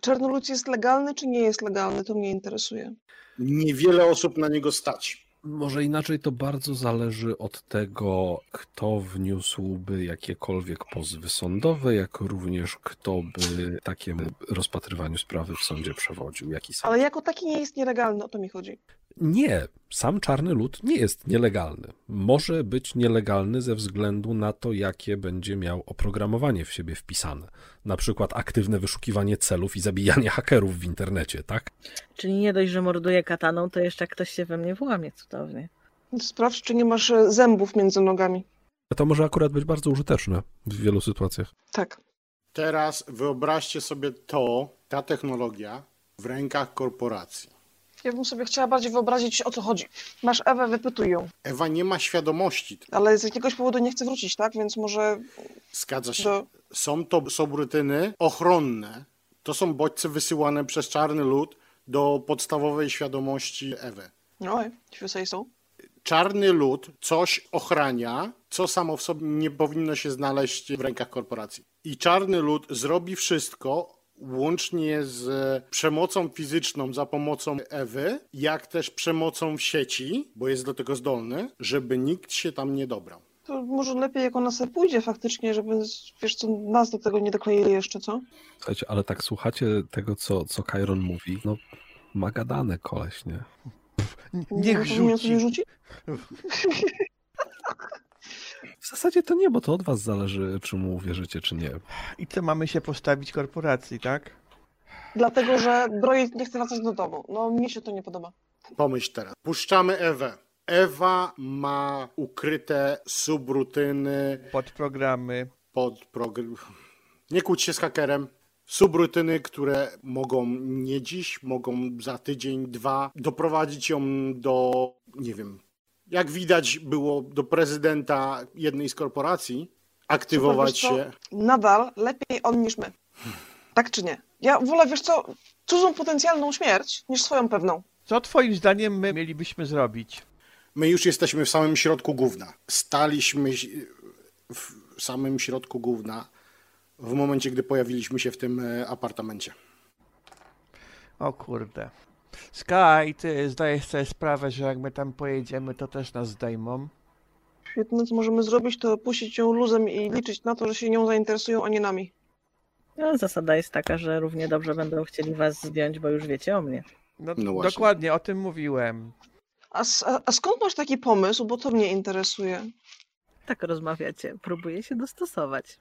Czarnolud jest legalny, czy nie jest legalny? To mnie interesuje.
Niewiele osób na niego stać.
Może inaczej to bardzo zależy od tego, kto wniósłby jakiekolwiek pozwy sądowe, jak również kto by takiemu rozpatrywaniu sprawy w sądzie przewodził, jaki sam.
Ale jako taki nie jest nielegalny, o to mi chodzi.
Nie, sam czarny lud nie jest nielegalny. Może być nielegalny ze względu na to, jakie będzie miał oprogramowanie w siebie wpisane. Na przykład aktywne wyszukiwanie celów i zabijanie hakerów w internecie, tak?
Czyli nie dość, że morduję kataną, to jeszcze ktoś się we mnie włamie cudownie.
Sprawdź, czy nie masz e, zębów między nogami.
A to może akurat być bardzo użyteczne w wielu sytuacjach.
Tak.
Teraz wyobraźcie sobie to, ta technologia w rękach korporacji.
Ja bym sobie chciała bardziej wyobrazić, o co chodzi. Masz Ewę, wypytuj ją.
Ewa nie ma świadomości.
Ale z jakiegoś powodu nie chce wrócić, tak? Więc może
Zgadza się.
do...
Są to subrutyny ochronne. To są bodźce wysyłane przez czarny lud do podstawowej świadomości Ewy.
No, if you say so.
Czarny lud coś ochrania, co samo w sobie nie powinno się znaleźć w rękach korporacji. I czarny lud zrobi wszystko, łącznie z przemocą fizyczną za pomocą Ewy, jak też przemocą w sieci, bo jest do tego zdolny, żeby nikt się tam nie dobrał.
To może lepiej, jak ona sobie pójdzie faktycznie, żeby, z- wiesz co, nas do tego nie dokleili jeszcze, co?
Słuchajcie, ale tak słuchacie tego, co, co Kairon mówi, no ma gadane koleś, nie?
N-
no,
Niech
to mnie sobie
rzuci.
rzuci?
W zasadzie to nie, bo to od was zależy, czy mu uwierzycie, czy nie.
I co mamy się postawić korporacji, tak?
Dlatego, że Broid nie chce wracać do domu. No, mnie się to nie podoba.
Pomyśl teraz. Puszczamy Ewę. Ewa ma ukryte subrutyny
Podprogramy.
pod program. Nie kłóć się z hakerem. Subrutyny, które mogą nie dziś, mogą za tydzień, dwa doprowadzić ją do, nie wiem, jak widać było do prezydenta jednej z korporacji, aktywować
Słuchaj, No wiesz
się.
Nadal lepiej on niż my. Tak czy nie? Ja wolę, wiesz co, cudzą potencjalną śmierć, niż swoją pewną.
Co twoim zdaniem my mielibyśmy zrobić?
My już jesteśmy w samym środku gówna. Staliśmy si- w samym środku gówna w momencie, gdy pojawiliśmy się w tym e, apartamencie.
O kurde. Sky, ty zdajesz sobie sprawę, że jak my tam pojedziemy, to też nas zdejmą.
Jedyne, co możemy zrobić, to puścić ją luzem i liczyć na to, że się nią zainteresują, a nie nami.
No, zasada jest taka, że równie dobrze będą chcieli was zdjąć, bo już wiecie o mnie.
No,
No właśnie.
dokładnie, o tym mówiłem.
A, s- a, a skąd masz taki pomysł? Bo to mnie interesuje.
Tak rozmawiacie. Próbuję się dostosować.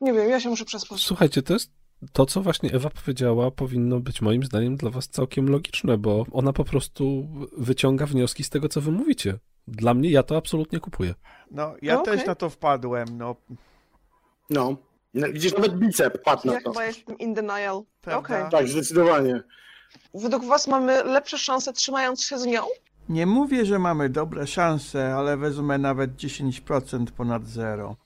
Nie wiem, ja się muszę przespać.
Słuchajcie, to jest to, co właśnie Ewa powiedziała, powinno być moim zdaniem dla was całkiem logiczne, bo ona po prostu wyciąga wnioski z tego, co wy mówicie. Dla mnie ja to absolutnie kupuję.
No, ja
No,
też
okej.
na to wpadłem, no.
No. No, Widzisz, nawet bicep padł na
Ja
No to.
chyba jestem in denial.
Prawda?
Okej.
Tak, zdecydowanie.
Według was mamy lepsze szanse trzymając się z nią?
Nie mówię, że mamy dobre szanse, ale wezmę nawet 10% ponad zero.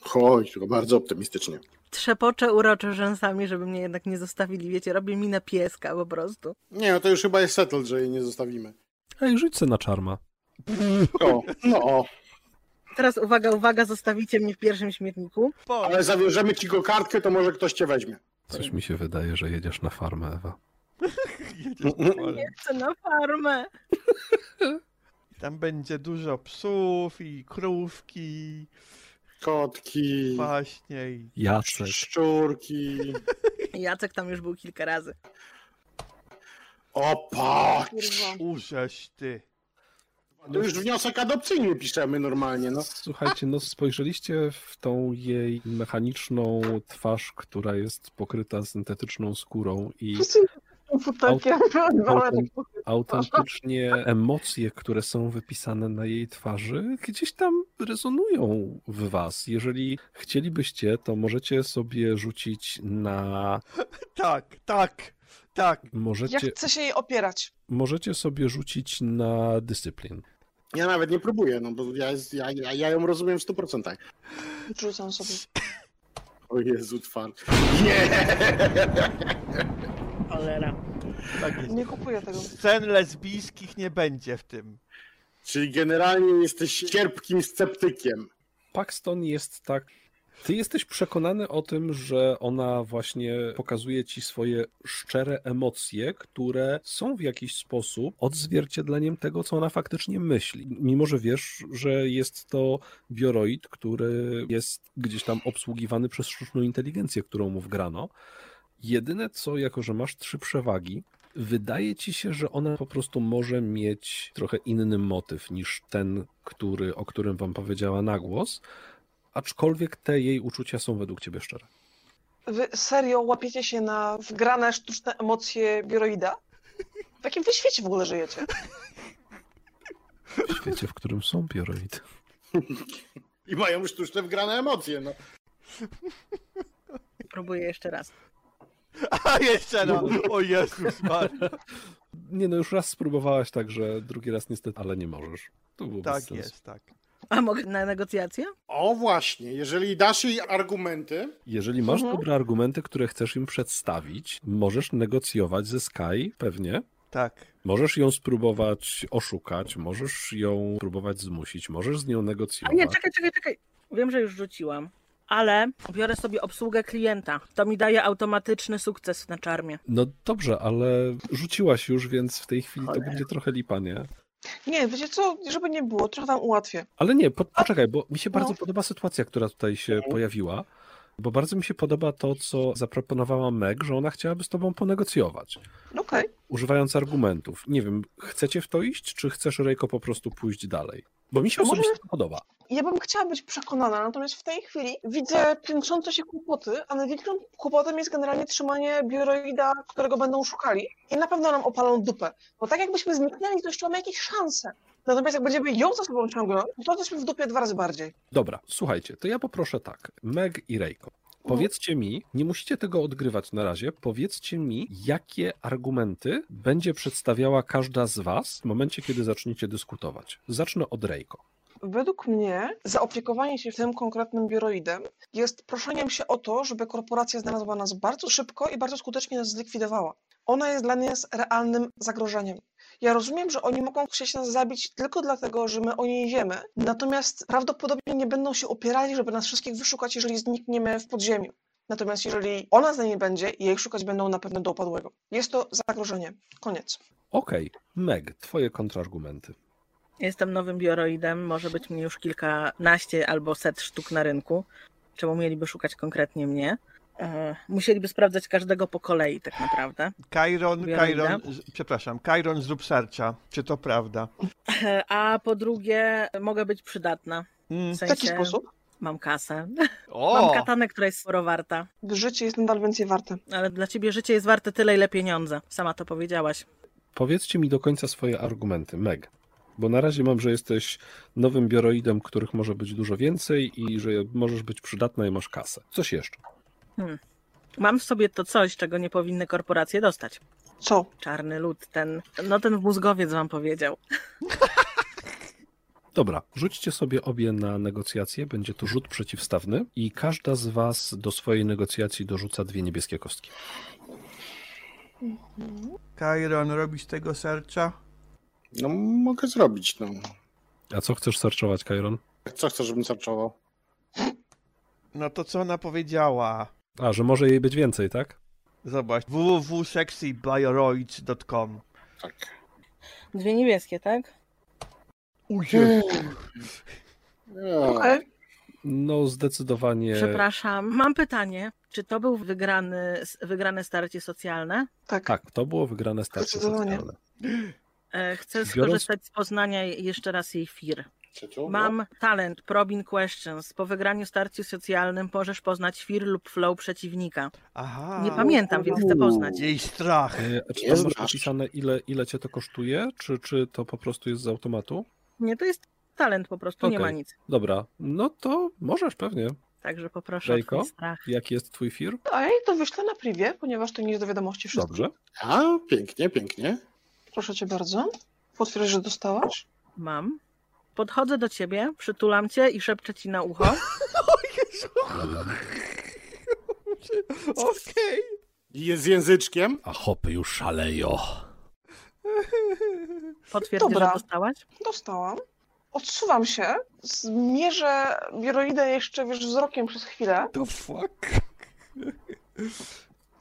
Chodź, tylko bardzo optymistycznie.
Trzepoczę uroczy rzęsami, żeby mnie jednak nie zostawili. Wiecie, robię minę pieska po prostu.
Nie, no to już chyba jest settled, że jej nie zostawimy.
Ej, rzuć se na czarma.
O, no, o.
Teraz uwaga, uwaga, zostawicie mnie w pierwszym śmietniku.
Po,
Ale zawierzemy ci go kartkę, to może ktoś cię weźmie.
Coś mi się wydaje, że jedziesz na farmę, Ewa.
Mm,
jedziesz po.
Chcę na farmę.
Tam będzie dużo psów i krówki,
Kotki,
właśnie. i-
Jacek.
szczurki.
Jacek tam już był kilka razy.
O, patrz!
Kurwa.
Użeś ty.
To już wniosek adopcyjny piszemy normalnie, no.
Słuchajcie, no spojrzeliście w tą jej mechaniczną twarz, która jest pokryta syntetyczną skórą i
Wszyscy futerkiem.
autem- autentycznie emocje, które są wypisane na jej twarzy, gdzieś tam rezonują w was. Jeżeli chcielibyście, to możecie sobie rzucić na...
Tak, tak, tak.
Ja
Możecie,
chcę się jej opierać.
możecie sobie rzucić na dyscyplin.
Ja nawet nie próbuję, no bo ja, jest- ja, ja, ja ją rozumiem w 100%.
Rzucam sobie.
O Jezu, twarz. Nie!
Cholera.
Tak jest.
Nie kupuję tego.
Scen lesbijskich nie będzie w tym.
Czyli generalnie jesteś cierpkim sceptykiem.
Paxton jest tak. Ty jesteś przekonany o tym, że ona właśnie pokazuje ci swoje szczere emocje, które są w jakiś sposób odzwierciedleniem tego, co ona faktycznie myśli. Mimo, że wiesz, że jest to bioroid, który jest gdzieś tam obsługiwany przez sztuczną inteligencję, którą mu wgrano. Jedyne co, jako że masz trzy przewagi, wydaje ci się, że ona po prostu może mieć trochę inny motyw niż ten, który, o którym wam powiedziała na głos, aczkolwiek te jej uczucia są według ciebie szczere.
Wy serio łapiecie się na wgrane sztuczne emocje biuroida? W jakim wy świecie w ogóle żyjecie?
W świecie, w którym są bioroidy.
I mają sztuczne wgrane emocje, no.
Próbuję jeszcze raz.
A jeszcze raz. O Jezus Maria.
Nie no, już raz spróbowałaś, także drugi raz niestety, ale nie możesz. To było bez
Tak
sensu.
jest, tak.
A mogę na negocjacje?
O właśnie, jeżeli dasz jej argumenty,
Jeżeli masz
Mhm.
dobre argumenty, które chcesz im przedstawić, możesz negocjować ze Sky, pewnie.
Tak.
Możesz ją spróbować oszukać, możesz ją spróbować zmusić, możesz z nią
A
negocjować.
nie, czekaj, czekaj, czekaj. Wiem, że już rzuciłam. Ale biorę sobie obsługę klienta. To mi daje automatyczny sukces na czarmie.
No dobrze, ale rzuciłaś już, więc w tej chwili to
Cholera.
będzie trochę lipa, nie?
Nie, wiecie co, żeby nie było, trochę wam ułatwię.
Ale nie, po, poczekaj, bo mi się
No.
bardzo podoba sytuacja, która tutaj się pojawiła, bo bardzo mi się podoba to, co zaproponowała Meg, że ona chciałaby z tobą ponegocjować,
No Okej.
używając argumentów. Nie wiem, chcecie w to iść, czy chcesz, Rejko, po prostu pójść dalej? Bo mi się
A może-
osobiście to podoba.
Ja bym chciała być przekonana, natomiast w tej chwili widzę piętrzące się kłopoty, a największym kłopotem jest generalnie trzymanie biuroida, którego będą szukali i na pewno nam opalą dupę. Bo tak jakbyśmy zniknęli, to jeszcze mamy jakieś szanse. Natomiast jak będziemy ją za sobą ciągnąć, to jesteśmy w dupie dwa razy bardziej.
Dobra, słuchajcie, to ja poproszę tak, Meg i Rejko. Powiedzcie mi, nie musicie tego odgrywać na razie, powiedzcie mi, jakie argumenty będzie przedstawiała każda z was w momencie, kiedy zaczniecie dyskutować. Zacznę od Rejko.
Według mnie zaopiekowanie się tym konkretnym biuroidem jest proszeniem się o to, żeby korporacja znalazła nas bardzo szybko i bardzo skutecznie nas zlikwidowała. Ona jest dla nas realnym zagrożeniem. Ja rozumiem, że oni mogą chcieć nas zabić tylko dlatego, że my o niej wiemy, natomiast prawdopodobnie nie będą się opierali, żeby nas wszystkich wyszukać, jeżeli znikniemy w podziemiu. Natomiast jeżeli ona z niej będzie, jej szukać będą na pewno do upadłego. Jest to zagrożenie. Koniec.
Okej, Meg, twoje kontrargumenty.
Jestem nowym bioroidem, może być mnie już kilkanaście albo set sztuk na rynku. Czemu mieliby szukać konkretnie mnie? E, Musieliby sprawdzać każdego po kolei, tak naprawdę.
Kairon,
Biorę
Kairon, z- przepraszam, Kairon zrób serca. Czy to prawda?
E, A po drugie, mogę być przydatna.
Mm.
W
W taki
sensie,
sposób
mam kasę. Mam
O!
katanę, która jest sporo warta.
życie jest nadal więcej warte.
Ale dla ciebie życie jest warte tyle, ile pieniądze. Sama to powiedziałaś.
Powiedzcie mi do końca swoje argumenty, Meg. Bo na razie mam, że jesteś nowym bioroidem, których może być dużo więcej i że możesz być przydatna i masz kasę. Coś jeszcze.
Mam w sobie to coś, czego nie powinny korporacje dostać.
Co?
Czarny lud, ten. No ten mózgowiec wam powiedział.
Dobra, rzućcie sobie obie na negocjacje, będzie to rzut przeciwstawny i każda z was do swojej negocjacji dorzuca dwie niebieskie kostki.
Kairon, robisz tego serca?
no mogę zrobić, no.
A co chcesz searchować, Kairon?
Co chcesz, żebym searchował?
No to co ona powiedziała?
A, że może jej być więcej, tak?
Zobacz, www.sexybioiroids.com
Tak.
Dwie niebieskie, tak?
Ujej.
Nie.
Okej.
No, zdecydowanie.
Przepraszam, mam pytanie. Czy to był wygrany, wygrane starcie socjalne?
Tak.
Tak, to było wygrane starcie
Zdecydowanie.
socjalne.
E, Chcę
Biorąc-
skorzystać z poznania jeszcze raz jej fir.
Czy tu?
Mam talent probing questions. Po wygraniu starciu socjalnym możesz poznać fir lub flow przeciwnika.
Aha.
Nie pamiętam, więc chcę poznać.
Jej strach.
E, a Czy
Nie
tam masz
znasz.
napisane, ile, ile cię to kosztuje? Czy, czy to po prostu jest z automatu?
Nie, to jest talent po prostu, nie
Okej.
ma nic.
Dobra, no to możesz pewnie.
Także poproszę o
Jejko?
twój strach.
Jaki jest twój fir?
A ja jej No, to wyślę na privie, ponieważ to nie jest do wiadomości wszystko.
Dobrze.
A, pięknie, pięknie.
Proszę cię bardzo. Potwierdź, że dostałaś.
Mam. Podchodzę do ciebie, przytulam cię i szepczę ci na ucho.
Okej.
Jest z języczkiem?
A hopy już szaleją.
Potwierdzisz, że
Dobra.
dostałaś?
Dostałam. Odsuwam się, zmierzę bioroidę jeszcze, wiesz, wzrokiem przez chwilę,
The fuck?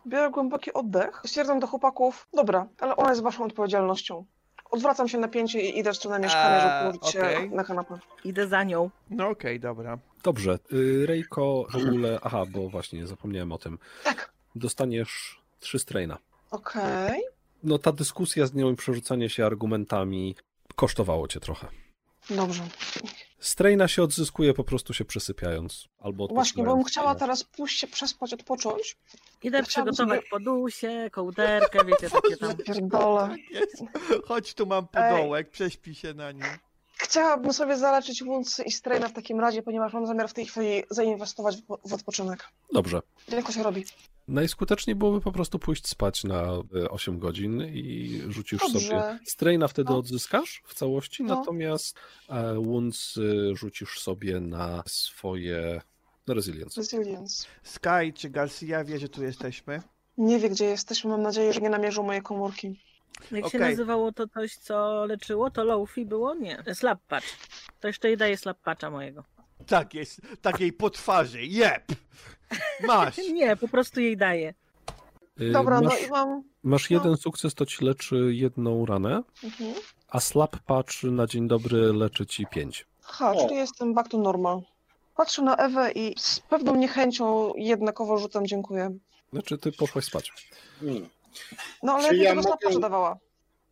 biorę głęboki oddech, stwierdzam do chłopaków, dobra, ale ona jest waszą odpowiedzialnością. Odwracam się na pięcie i idę w stronę mieszkania, żeby
A,
położyć się
okej.
na kanapę.
Idę za nią.
No okej, dobra.
Dobrze. y, Rejko w ogóle. Aha, bo właśnie zapomniałem o tym.
Tak.
Dostaniesz trzy strajna.
Okej.
No ta dyskusja z nią i przerzucanie się argumentami kosztowało cię trochę.
Dobrze.
Strajna się odzyskuje po prostu się przesypiając. Albo
Właśnie, bo bym
odpoczywając.
chciała teraz pójść się przespać, odpocząć.
Idę
Ja chciałabym
przygotować podusie, kołderkę, wiecie, takie tam.
Pierdolę.
Tak jest. Chodź tu mam
Ej.
podołek, prześpi się na nim.
Chciałabym sobie zaleczyć łący i strajna w takim razie, ponieważ mam zamiar w tej chwili zainwestować w, w odpoczynek.
Dobrze.
Jak to się robi?
Najskuteczniej byłoby po prostu pójść spać na y, 8 godzin i rzucisz
Dobrze.
sobie. Straina wtedy
No.
odzyskasz w całości,
No.
natomiast e, Wounds y, rzucisz sobie na swoje na resilience.
Resilience.
Sky czy Garcia wie, że tu jesteśmy?
Nie wie, gdzie jesteśmy. Mam nadzieję, że nie namierzył moje komórki.
Jak się
Okej.
nazywało to coś, co leczyło, to Lofi było? Nie. Slap patch. To jeszcze jej daje slap patcha mojego.
Tak jest, takiej po twarzy, jep! Masz!
Nie, po prostu jej daje.
Y,
Dobra,
masz,
no i mam.
masz
no.
jeden sukces, to ci leczy jedną ranę,
Mhm.
a slap patch na dzień dobry leczy ci 5.
Aha,
O.
czyli jestem back to normal. Patrzę na Ewę i z pewną niechęcią jednakowo rzucam dziękuję.
Znaczy ty poszłaś spać.
Nie.
No ale
Czy
nie
ja
tego
mogę-
mogę... dawała.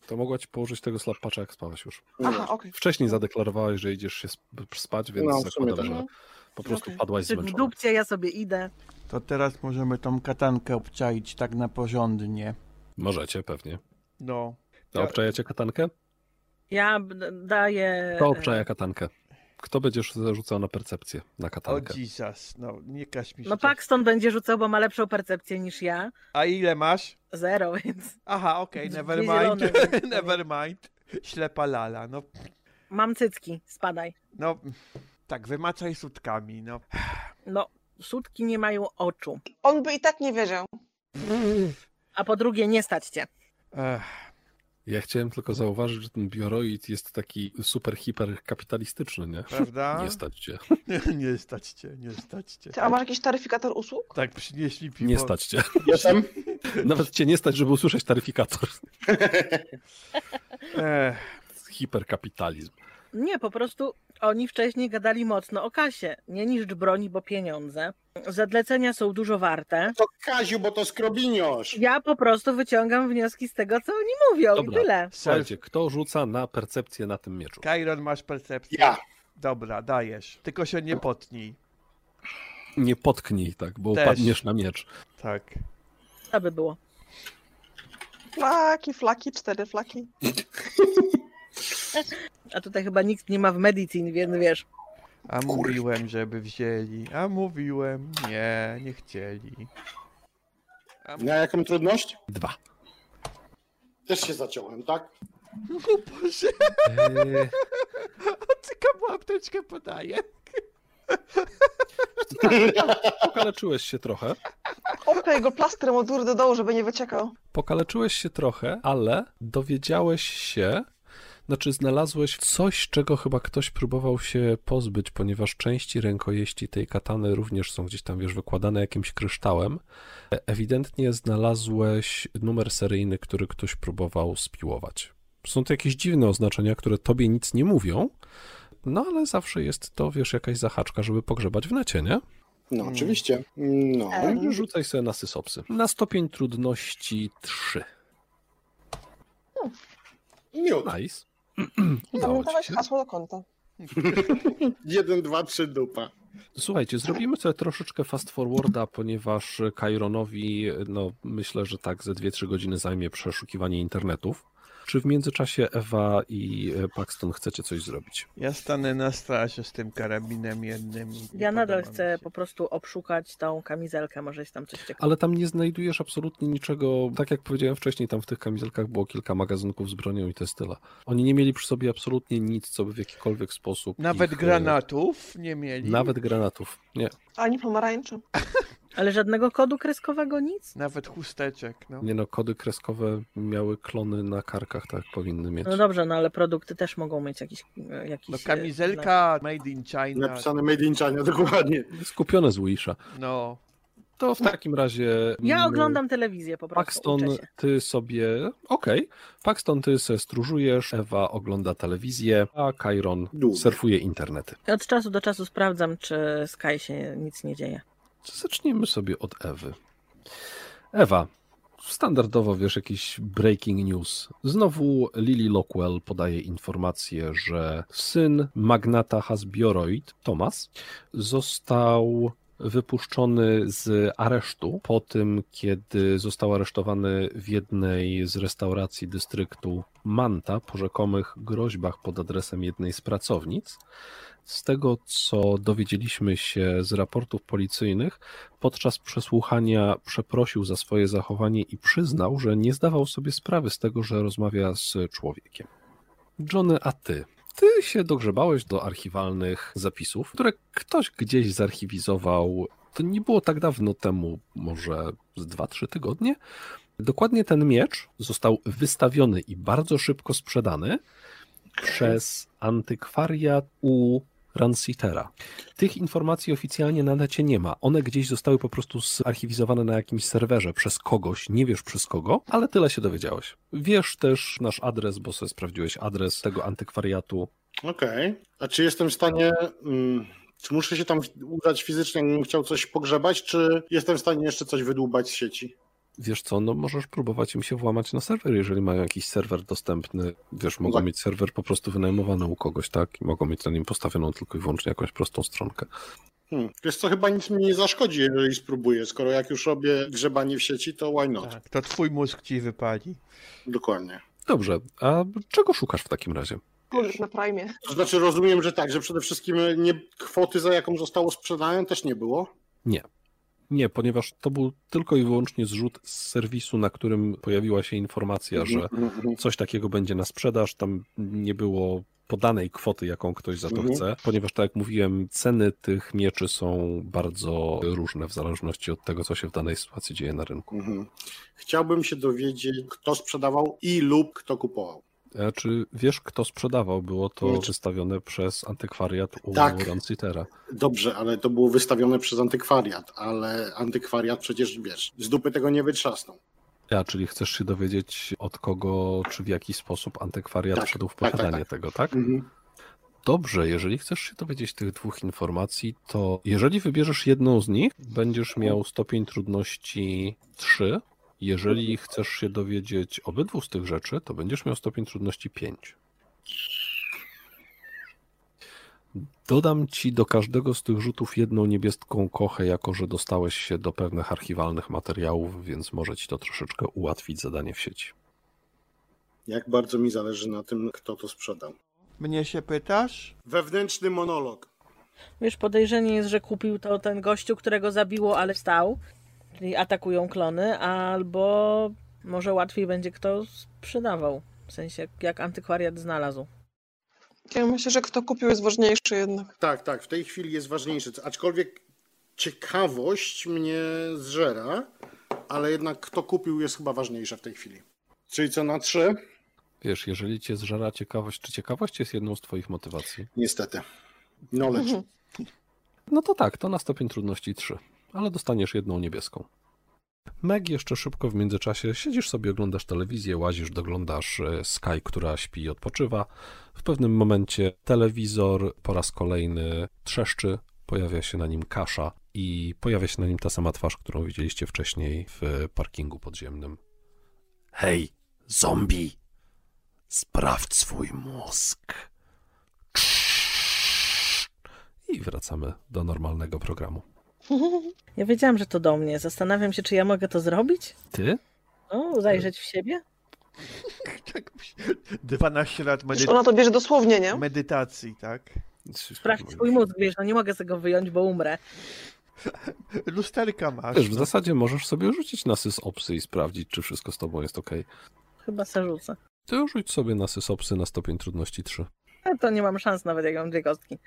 To mogła ci położyć tego slap patcha, jak spałaś już.
Aha, okej.
Wcześniej zadeklarowałaś, że idziesz się sp- spać, więc
No, w sumie
zakładam,
tak.
że po prostu
Okej.
padłaś
Czy w
zmęczona.
dupcie ja sobie idę.
To teraz możemy tą katankę obczaić tak na porządnie.
Możecie, pewnie.
No.
To
Ja-
obczajacie katankę?
Ja b- daję. e,
To obczaja katankę. Kto będziesz zarzucał na percepcję na
O
katankę?
Jesus, no nie każ mi się
No
tak-
Paxton będzie rzucał, bo ma lepszą percepcję niż ja.
A ile masz?
Zero, więc.
Aha, okej,
Dwie
never
zielone,
mind.
więc to nie.
never mind. Ślepa lala, no.
Mam cycki, spadaj.
No, tak, wymaczaj sutkami, no.
No, sutki nie mają oczu.
On by i tak nie wiedział.
A po drugie, nie stać cię.
Ech,
Ja chciałem tylko zauważyć, że ten bioroid jest taki super hiper kapitalistyczny, nie?
prawda?
Nie stać cię.
nie stać cię, nie stać cię.
Ty, a masz jakiś taryfikator usług?
Tak, przynieśli piwo.
Nie stać cię.
Jestem?
Nawet cię nie stać, żeby usłyszeć taryfikator.
Ech,
Hiperkapitalizm.
Nie, po prostu oni wcześniej gadali mocno o kasie. Nie niszcz broni, bo pieniądze. Zadlecenia są dużo warte.
To Kaziu, bo to skrobiniosz.
Ja po prostu wyciągam wnioski z tego, co oni mówią
Dobra.
i tyle.
Słuchajcie, kto rzuca na percepcję na tym mieczu?
Kairon, masz percepcję?
Ja.
Dobra, dajesz. Tylko się nie potnij.
Nie potknij tak, bo
Też.
upadniesz na miecz.
Tak.
To by było.
Flaki, flaki, cztery flaki.
A tutaj chyba nikt nie ma w medicine, więc wiesz.
A mówiłem, żeby wzięli. A mówiłem. Nie, nie chcieli.
Na jaką trudność?
Dwa.
Też się zaciąłem, tak?
O Boże,
Eee,
tylko mu apteczkę podaję.
pokaleczyłeś się trochę.
Opkaj go plastrem od góry do dołu, żeby nie wyciekał.
Pokaleczyłeś się trochę, ale dowiedziałeś się, Znaczy, znalazłeś coś, czego chyba ktoś próbował się pozbyć, ponieważ części rękojeści tej katany również są gdzieś tam, wiesz, wykładane jakimś kryształem. E- Ewidentnie znalazłeś numer seryjny, który ktoś próbował spiłować. Są to jakieś dziwne oznaczenia, które tobie nic nie mówią, no ale zawsze jest to, wiesz, jakaś zahaczka, żeby pogrzebać w necie, nie?
No,
Mm.
oczywiście. No.
E, Mhm.
Rzucaj sobie na sysopsy.
Na stopień trudności 3.
Miód.
Nice.
No,
Udało ci
Zapamiętałaś
się.
hasło do konta.
Jeden, dwa, trzy dupa.
Słuchajcie, zrobimy sobie troszeczkę fast forwarda, ponieważ Kaironowi, no myślę, że tak ze 2-3 godziny zajmie przeszukiwanie internetów. Czy w międzyczasie Ewa i e, Paxton chcecie coś zrobić?
Ja stanę na straży z tym karabinem jednym. i
Ja
nie
nadal
podoba mi
chcę
się.
po prostu obszukać tą kamizelkę, może jest tam coś ciekawego.
Ale tam nie znajdujesz absolutnie niczego, tak jak powiedziałem wcześniej, tam w tych kamizelkach było kilka magazynków z bronią i to jest tyle. Oni nie mieli przy sobie absolutnie nic, co by w jakikolwiek sposób
Nawet
ich, e,
granatów nie mieli.
Nawet granatów, nie.
Ani pomarańczy.
Ale żadnego kodu kreskowego, nic?
Nawet chusteczek, no.
Nie no, kody kreskowe miały klony na karkach, tak powinny mieć.
No dobrze, no ale produkty też mogą mieć jakiś... e, jakiś
No
e, znak.
kamizelka made in China.
Napisane Made in China, dokładnie.
Skupione z Wisha.
No.
To w takim razie...
Ja
mm,
oglądam telewizję po prostu,
Paxton,
uczę się.
ty sobie... Okej. Paxton, ty se stróżujesz, Ewa ogląda telewizję, a Kairon
Dół.
surfuje internety.
I Od czasu do czasu sprawdzam, czy Sky się nic nie dzieje.
Zacznijmy sobie od Ewy. Ewa, standardowo wiesz jakiś breaking news. Znowu Lily Lockwell podaje informację, że syn magnata Hasbioroid, Thomas, został wypuszczony z aresztu po tym, kiedy został aresztowany w jednej z restauracji dystryktu Manta po rzekomych groźbach pod adresem jednej z pracownic. Z tego, co dowiedzieliśmy się z raportów policyjnych, podczas przesłuchania przeprosił za swoje zachowanie i przyznał, że nie zdawał sobie sprawy z tego, że rozmawia z człowiekiem. Johnny, a ty? Ty się dogrzebałeś do archiwalnych zapisów, które ktoś gdzieś zarchiwizował. To nie było tak dawno temu, może z 2-3 tygodnie. Dokładnie ten miecz został wystawiony i bardzo szybko sprzedany przez antykwariat u Ransitera. Tych informacji oficjalnie na necie nie ma. One gdzieś zostały po prostu zarchiwizowane na jakimś serwerze przez kogoś, nie wiesz przez kogo, ale tyle się dowiedziałeś. Wiesz też nasz adres, bo sobie sprawdziłeś adres tego antykwariatu.
Okej. A czy jestem w stanie. Mm, czy muszę się tam udać fizycznie, jakbym chciał coś pogrzebać, czy jestem w stanie jeszcze coś wydłubać z sieci?
Wiesz co, no możesz próbować im się włamać na serwer, jeżeli mają jakiś serwer dostępny. Wiesz, mogą
Tak.
mieć serwer po prostu wynajmowany u kogoś, tak? I mogą mieć na nim postawioną tylko i wyłącznie jakąś prostą stronkę.
Hmm. Wiesz co, chyba nic mi nie zaszkodzi, jeżeli spróbuję. Skoro jak już robię grzebanie w sieci, to why not?
Tak, to twój mózg ci wypali.
Dokładnie.
Dobrze, a czego szukasz w takim razie?
Gulik na prime.
To znaczy rozumiem, że tak, że przede wszystkim nie, kwoty, za jaką zostało sprzedane, też nie było.
Nie, ponieważ to był tylko i wyłącznie zrzut z serwisu, na którym pojawiła się informacja, że
Mhm.
coś takiego będzie na sprzedaż. Tam nie było podanej kwoty, jaką ktoś za to
Mhm.
chce, ponieważ tak jak mówiłem, ceny tych mieczy są bardzo różne w zależności od tego, co się w danej sytuacji dzieje na rynku.
Mhm. Chciałbym się dowiedzieć, kto sprzedawał i lub kto kupował.
E, Czy wiesz, kto sprzedawał? Było to
Znaczy-
wystawione przez antykwariat u
Tak.
Rancitera.
Dobrze, ale to było wystawione przez antykwariat, ale antykwariat przecież wiesz, z dupy tego nie wytrzasną.
A, czyli chcesz się dowiedzieć od kogo, czy w jaki sposób antykwariat
Tak,
wszedł w
tak, tak,
posiadanie tego, tak? Dobrze, jeżeli chcesz się dowiedzieć tych dwóch informacji, to jeżeli wybierzesz jedną z nich, będziesz miał stopień trudności 3. Jeżeli chcesz się dowiedzieć obydwu z tych rzeczy, to będziesz miał stopień trudności 5. Dodam ci do każdego z tych rzutów jedną niebieską kochę, jako że dostałeś się do pewnych archiwalnych materiałów, więc może ci to troszeczkę ułatwić zadanie w sieci.
Jak bardzo mi zależy na tym, kto to sprzedał.
Mnie się pytasz?
Wewnętrzny monolog.
Wiesz, podejrzenie jest, że kupił to ten gościu, którego zabiło, ale wstał. Czyli atakują klony, albo może łatwiej będzie kto sprzedawał. W sensie, jak antykwariat znalazł.
Ja myślę, że kto kupił jest ważniejszy jednak.
Tak, tak, w tej chwili jest ważniejsze, aczkolwiek ciekawość mnie zżera, ale jednak kto kupił jest chyba ważniejsze w tej chwili. Czyli co na trzy?
Wiesz, jeżeli cię zżera ciekawość, czy ciekawość jest jedną z twoich motywacji?
Niestety. No lecz.
No to tak, to na stopień trudności 3, ale dostaniesz jedną niebieską. Meg jeszcze szybko w międzyczasie siedzisz sobie, oglądasz telewizję, łazisz, doglądasz e, Sky, która śpi i odpoczywa. W pewnym momencie telewizor po raz kolejny trzeszczy, pojawia się na nim kasza i pojawia się na nim ta sama twarz, którą widzieliście wcześniej w e, parkingu podziemnym. Hej, zombie! Sprawdź swój mózg! I wracamy do normalnego programu.
Ja wiedziałam, że to do mnie. Zastanawiam się, czy ja mogę to zrobić.
Ty?
O, zajrzeć w siebie.
Tak, 12 lat
Przecież
medy-
ona to bierze dosłownie, nie?
medytacji, tak?
Sprawdź swój mózg, wiesz, no nie mogę z tego wyjąć, bo umrę.
Lusterka masz.
Wiesz, w
no.
zasadzie możesz sobie rzucić na sysopsy i sprawdzić, czy wszystko z tobą jest ok.
Chyba se rzucę.
Ty rzuć sobie na sysopsy na stopień trudności 3.
Ale to nie mam szans nawet, jak mam dwie kostki.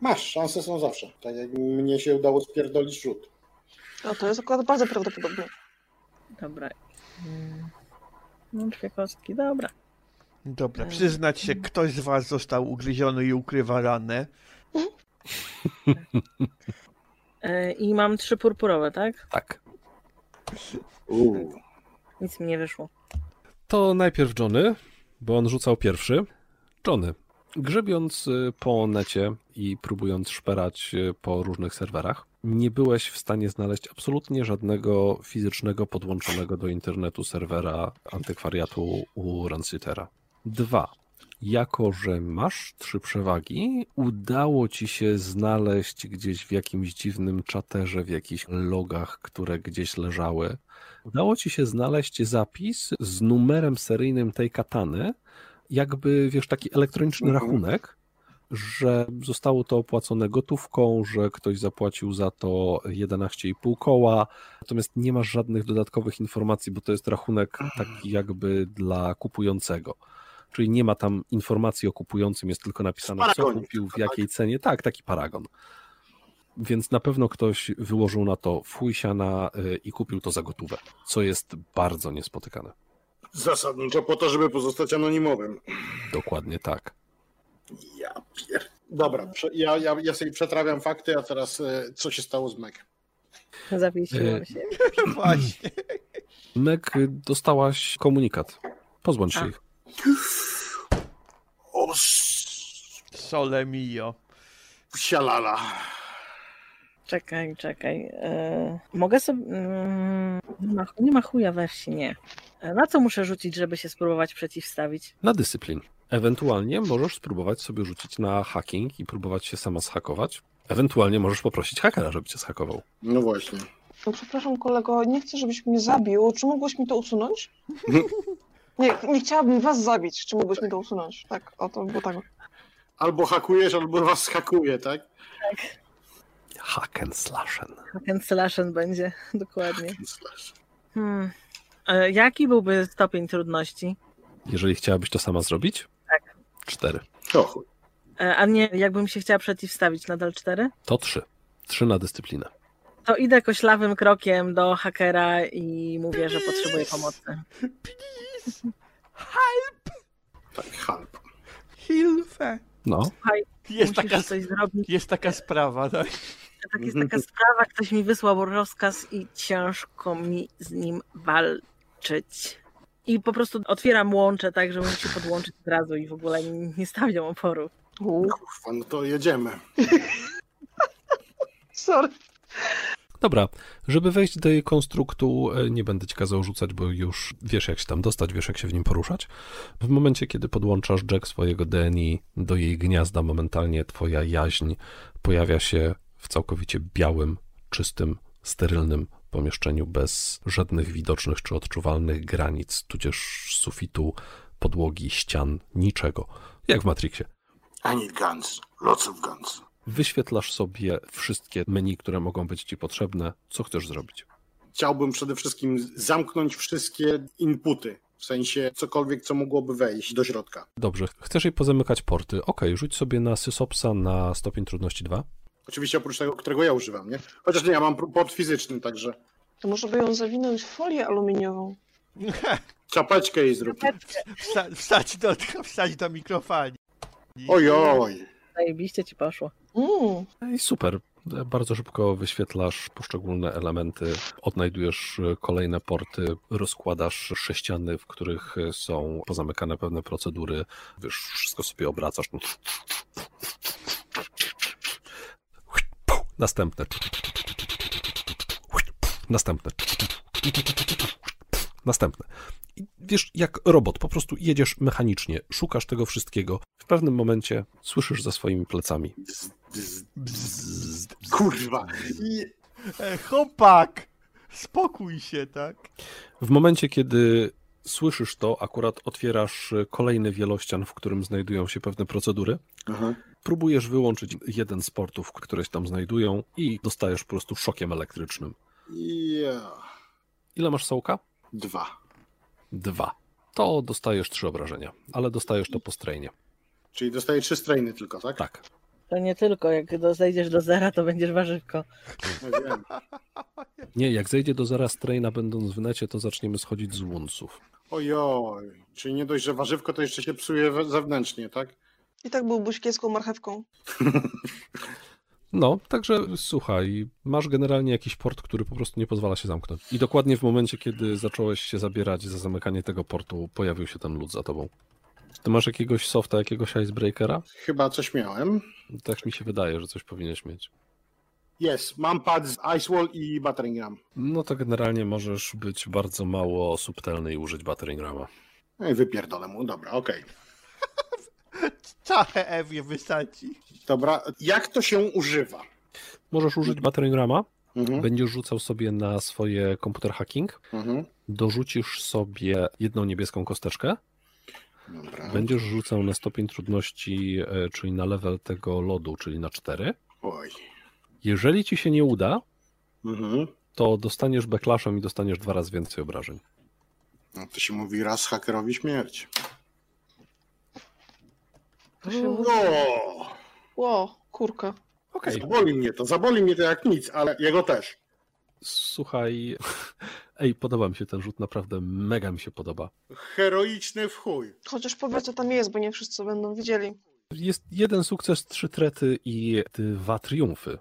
Masz, szanse są zawsze. Tak jak mnie się udało spierdolić rzut.
No to jest akurat bardzo prawdopodobne.
Dobra. Mm. Mam dwie kostki, dobra.
Dobra, przyznać się, ktoś z was został ugryziony i ukrywa ranę.
E, I mam trzy purpurowe, tak?
Tak.
Uuu.
Nic mi nie wyszło.
To najpierw Johnny, bo on rzucał pierwszy. Johnny, grzebiąc y, po necie i próbując szperać y, po różnych serwerach, nie byłeś w stanie znaleźć absolutnie żadnego fizycznego podłączonego do internetu serwera antykwariatu u Rancitera. Dwa. Jako, że masz trzy przewagi, udało ci się znaleźć gdzieś w jakimś dziwnym czaterze, w jakichś logach, które gdzieś leżały, udało ci się znaleźć zapis z numerem seryjnym tej katany, jakby, wiesz, taki elektroniczny
Mhm.
rachunek, że zostało to opłacone gotówką, że ktoś zapłacił za to 11,5 koła, natomiast nie masz żadnych dodatkowych informacji, bo to jest rachunek taki jakby dla kupującego. Czyli nie ma tam informacji o kupującym, jest tylko napisane, co
Paragonik
kupił, w
tylko, tak?
jakiej cenie. Tak, taki paragon. Więc na pewno ktoś wyłożył na to fuj siana y, i kupił to za gotówę, co jest bardzo niespotykane.
Zasadniczo po to, żeby pozostać anonimowym.
Dokładnie tak.
Ja pier... Dobra, prze... ja, ja, ja sobie przetrawiam fakty, a teraz e, co się stało z Meg?
E.
Zawiesiłam się.
Właśnie.
Meg, y, dostałaś komunikat. Pozbądź się
A.
ich.
O,
Sole mio.
sialala.
Czekaj, czekaj. E, mogę sobie... Mm, nie, ma, nie ma chuja we wsi, nie. E, Na co muszę rzucić, żeby się spróbować przeciwstawić?
Na dyscyplin. Ewentualnie możesz spróbować sobie rzucić na hacking i próbować się sama zhakować. Ewentualnie możesz poprosić hakera, żeby cię zhakował.
No właśnie.
No przepraszam kolego, nie chcę, żebyś mnie zabił. Czy mógłbyś mi to usunąć? Nie, nie chciałabym was zabić. Czy mógłbyś mi to usunąć? Tak, o to było tak.
Albo hakujesz, albo was hakuje, tak?
Haken slashen.
Ten slashen będzie, dokładnie.
Slash.
Hmm. E, jaki byłby stopień trudności?
Jeżeli chciałabyś to sama zrobić?
Tak.
Cztery.
O chuj.
E, a nie, jakbym się chciała przeciwstawić, nadal cztery?
To trzy. Trzy na dyscyplinę.
To idę koślawym krokiem do hakera i mówię, że potrzebuję pomocy.
Please.
Tak, halb.
Hilfe.
No.
Jest
Musisz
taka,
coś zrobić.
jest taka sprawa, tak?
Tak, jest taka sprawa, ktoś mi wysłał rozkaz i ciężko mi z nim walczyć. I po prostu otwieram łącze tak, żeby się podłączyć od razu i w ogóle nie stawiam oporu.
Uuu,
Kurwa, no to jedziemy.
Sorry.
Dobra, żeby wejść do jej konstruktu, e, nie będę ci kazał rzucać, bo już wiesz, jak się tam dostać, wiesz, jak się w nim poruszać. W momencie, kiedy podłączasz Jack swojego DNI do jej gniazda, momentalnie twoja jaźń pojawia się w całkowicie białym, czystym, sterylnym pomieszczeniu bez żadnych widocznych czy odczuwalnych granic, tudzież sufitu, podłogi, ścian, niczego. Jak w Matrixie.
I need guns. Lots of guns.
Wyświetlasz sobie wszystkie menu, które mogą być ci potrzebne. Co chcesz zrobić?
Chciałbym przede wszystkim zamknąć wszystkie inputy. W sensie cokolwiek, co mogłoby wejść do środka.
Dobrze, chcesz jej pozamykać porty. Okej, rzuć sobie na Sysopsa na stopień trudności 2.
Oczywiście oprócz tego, którego ja używam, nie? Chociaż nie, ja mam pr- port fizyczny, także
To może by ją zawinąć w folię aluminiową.
Czapeczkę jej zrób.
Wsta, wstać, do, wstać do mikrofali.
Ojoj.
Zajebiście ci poszło.
Mm.
No I super. Bardzo szybko wyświetlasz poszczególne elementy, odnajdujesz e, kolejne porty, rozkładasz sześciany, w których e, są pozamykane pewne procedury, wiesz, wszystko sobie obracasz. no. Następne. Następne. Następne. I wiesz, jak robot, po prostu jedziesz mechanicznie, szukasz tego wszystkiego. W pewnym momencie słyszysz za swoimi plecami
Bzz, bzz, Kurwa. I-
E, chłopak! Spokój się, tak?
W momencie, kiedy słyszysz to, akurat otwierasz y, kolejny wielościan, w którym znajdują się pewne procedury.
Aha.
Próbujesz wyłączyć jeden z portów, które się tam znajdują i dostajesz po prostu szokiem elektrycznym.
Ja.
Ile masz sołka?
Dwa.
Dwa. To dostajesz trzy obrażenia, ale dostajesz to po strainie.
Czyli dostaję trzy strajny tylko, tak?
Tak.
To nie tylko, jak do, zejdziesz do zera, to będziesz warzywko.
Ja No wiem.
Nie, jak zejdzie do zera straina będąc w necie, to zaczniemy schodzić z łunców.
Ojoj. Czyli nie dość, że warzywko, to jeszcze się psuje we- zewnętrznie, tak?
I tak byłbyś kieską marchewką.
No, także słuchaj, masz generalnie jakiś port, który po prostu nie pozwala się zamknąć. I dokładnie w momencie, kiedy zacząłeś się zabierać za zamykanie tego portu, pojawił się ten lud za tobą. Ty masz jakiegoś softa, jakiegoś icebreakera?
Chyba coś miałem.
Tak mi się wydaje, że coś powinieneś mieć.
Jest, mam pad z Icewall i Battering Ram.
No to generalnie możesz być bardzo mało subtelny i użyć battering rama.
No i wypierdolę mu, dobra, okej.
Cachę Ewie wysadzi.
Dobra, jak to się używa?
Możesz użyć battering rama,
Mhm,
będziesz rzucał sobie na swoje komputer hacking,
mhm.
dorzucisz sobie jedną niebieską kosteczkę,
Dobra.
Będziesz rzucał na stopień trudności, e, czyli na level tego lodu, czyli na 4.
Oj.
Jeżeli ci się nie uda,
Mhm.
to dostaniesz backlashem i dostaniesz dwa razy więcej obrażeń.
No to się mówi raz hakerowi śmierć.
To się
No!
mówi.
O!
Ło, kurka.
Zaboli mnie to, zaboli mnie to jak nic, ale jego też.
Słuchaj, ej, podoba mi się ten rzut, naprawdę mega mi się podoba.
Heroiczny w chuj.
Chociaż powiedz, co tam jest, bo nie wszyscy będą widzieli.
Jest jeden sukces, trzy trety i dwa triumfy.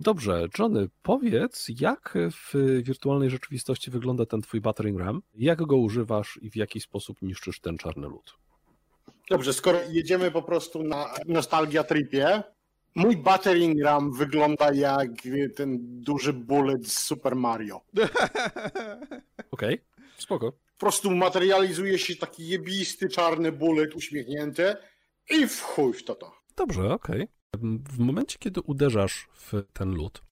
Dobrze, Johnny, powiedz, jak w wirtualnej rzeczywistości wygląda ten twój battering ram, jak go używasz i w jaki sposób niszczysz ten czarny lód?
Dobrze, skoro jedziemy po prostu na nostalgia tripie, mój battering ram wygląda jak ten duży bullet z Super Mario.
Okej, spoko.
Po prostu materializuje się taki jebisty czarny bullet uśmiechnięty i w chuj w to to.
Dobrze, okej. W momencie, kiedy uderzasz w ten lód,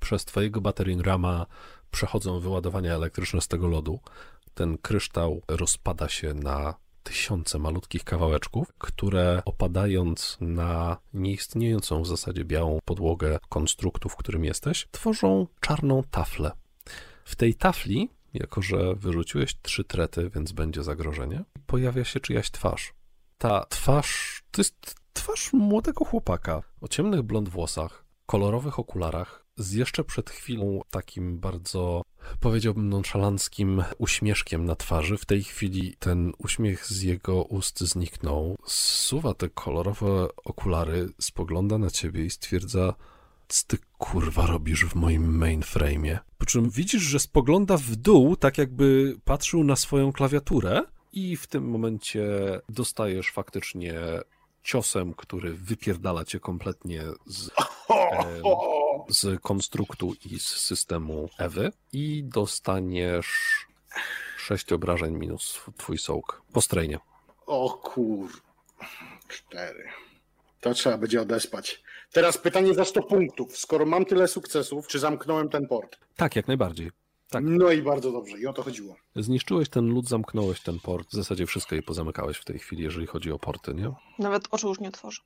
przez twojego baterii rama przechodzą wyładowania elektryczne z tego lodu. Ten kryształ rozpada się na tysiące malutkich kawałeczków, które opadając na nieistniejącą w zasadzie białą podłogę konstruktu, w którym jesteś, tworzą czarną taflę. W tej tafli, jako że wyrzuciłeś trzy trety, więc będzie zagrożenie, pojawia się czyjaś twarz. Ta twarz to jest twarz młodego chłopaka o ciemnych blond włosach, kolorowych okularach, z jeszcze przed chwilą takim bardzo, powiedziałbym, nonszalanckim uśmieszkiem na twarzy. W tej chwili ten uśmiech z jego ust zniknął. Zsuwa te kolorowe okulary, spogląda na ciebie i stwierdza: Co ty kurwa robisz w moim mainframe'ie? Po czym widzisz, że spogląda w dół, tak jakby patrzył na swoją klawiaturę. I w tym momencie dostajesz faktycznie ciosem, który wypierdala cię kompletnie z,
Ho,
Em.
ho.
z konstruktu i z systemu Ewy i dostaniesz sześć obrażeń minus twój sołk. Po strainie.
O kur... Cztery. To trzeba będzie odespać. Teraz pytanie za 100 punktów. Skoro mam tyle sukcesów, czy zamknąłem ten port?
Tak, jak najbardziej. Tak.
No i bardzo dobrze, i o to chodziło.
Zniszczyłeś ten lód, zamknąłeś ten port. W zasadzie wszystko je pozamykałeś w tej chwili, jeżeli chodzi o porty, nie?
Nawet oczu już nie otworzy.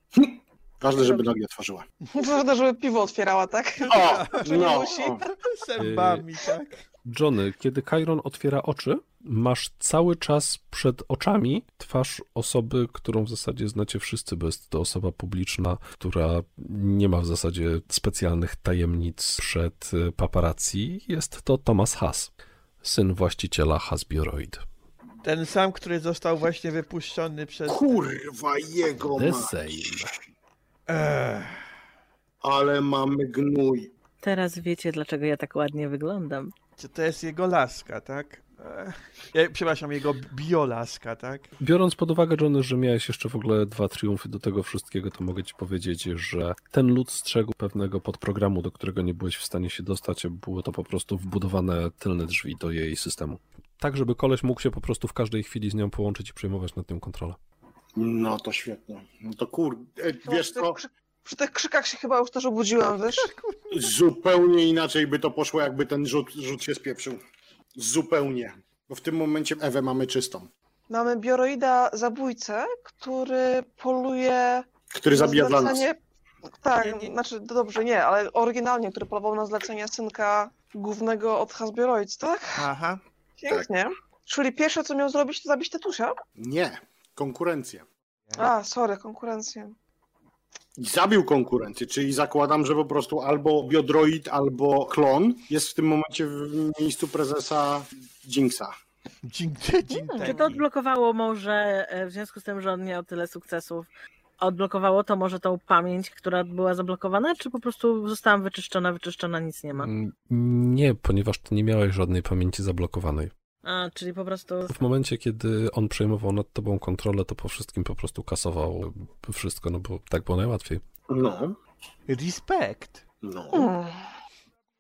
Ważne, żeby nogi otworzyła.
Ważne, żeby piwo otwierała, tak?
O,
Czy nie
no.
musi?
o.
Zębami, tak?
Johnny, kiedy Kairon otwiera oczy, masz cały czas przed oczami twarz osoby, którą w zasadzie znacie wszyscy, bo jest to osoba publiczna, która nie ma w zasadzie specjalnych tajemnic przed e, paparazzi. Jest to Thomas Haas, syn właściciela Hasbioroid.
Ten sam, który został właśnie wypuszczony przez...
Kurwa jego
The
mać.
same.
Eee,
Ale mamy gnój.
Teraz wiecie, dlaczego ja tak ładnie wyglądam.
czy to jest jego laska, tak? Eee, ja- przepraszam, jego biolaska, tak?
Biorąc pod uwagę, Johnny, że miałeś jeszcze w ogóle dwa triumfy do tego wszystkiego, to mogę ci powiedzieć, że ten lud strzegł pewnego podprogramu, do którego nie byłeś w stanie się dostać, a było to po prostu wbudowane tylne drzwi do jej systemu. Tak, żeby koleś mógł się po prostu w każdej chwili z nią połączyć i przejmować nad nią kontrolę.
No to świetnie. No to kur... e, Wiesz
przy,
co,
tych krzyk- przy tych krzykach się chyba już też obudziłam, wiesz?
zupełnie inaczej by to poszło, jakby ten rzut, rzut się spieprzył. Zupełnie. Bo w tym momencie Ewę mamy czystą.
Mamy bioroida zabójcę, który poluje
Który zabija
na
dla nas.
zlecenie- Tak,
Nie, nie.
znaczy no dobrze, nie, ale oryginalnie, który polował na zlecenie synka głównego od Hasbioroids, tak?
Aha.
Pięknie.
Tak.
Czyli pierwsze, co miał zrobić, to zabić Tetusia?
Nie. Konkurencję.
A, sorry, konkurencję.
I Zabił konkurencję, czyli zakładam, że po prostu albo biodroid, albo klon jest w tym momencie w miejscu prezesa Jinxa.
Dzień, dzień
Czy to odblokowało może, e, w związku z tym, że on miał tyle sukcesów, odblokowało to może tą pamięć, która była zablokowana, czy po prostu zostałam wyczyszczona, wyczyszczona, nic nie ma?
Mm, Nie, ponieważ ty nie miałeś żadnej pamięci zablokowanej.
A, czyli po prostu...
W momencie, kiedy on przejmował nad tobą kontrolę, to po wszystkim po prostu kasował wszystko, no bo tak było najłatwiej.
No,
Respekt.
no.
Hmm.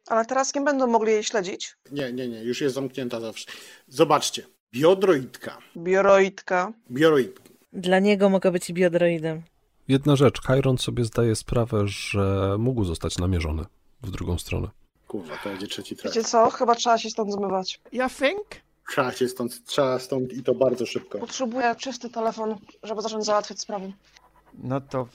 Ale teraz nie będą mogli jej śledzić.
Nie, nie, nie, już jest zamknięta zawsze. Zobaczcie. Biodroidka. Tak.
Bioroidka.
Bioroid.
Dla niego mogę być biodroidem.
Jedna rzecz, Chiron sobie zdaje sprawę, że mógł zostać namierzony w drugą stronę.
Kurwa, to będzie trzeci traf.
Wiecie co? Chyba trzeba się stąd zmywać.
Ja think?
Trzeba się stąd, trzeba stąd i to bardzo szybko.
Potrzebuję czysty telefon, żeby zacząć załatwiać sprawy.
No to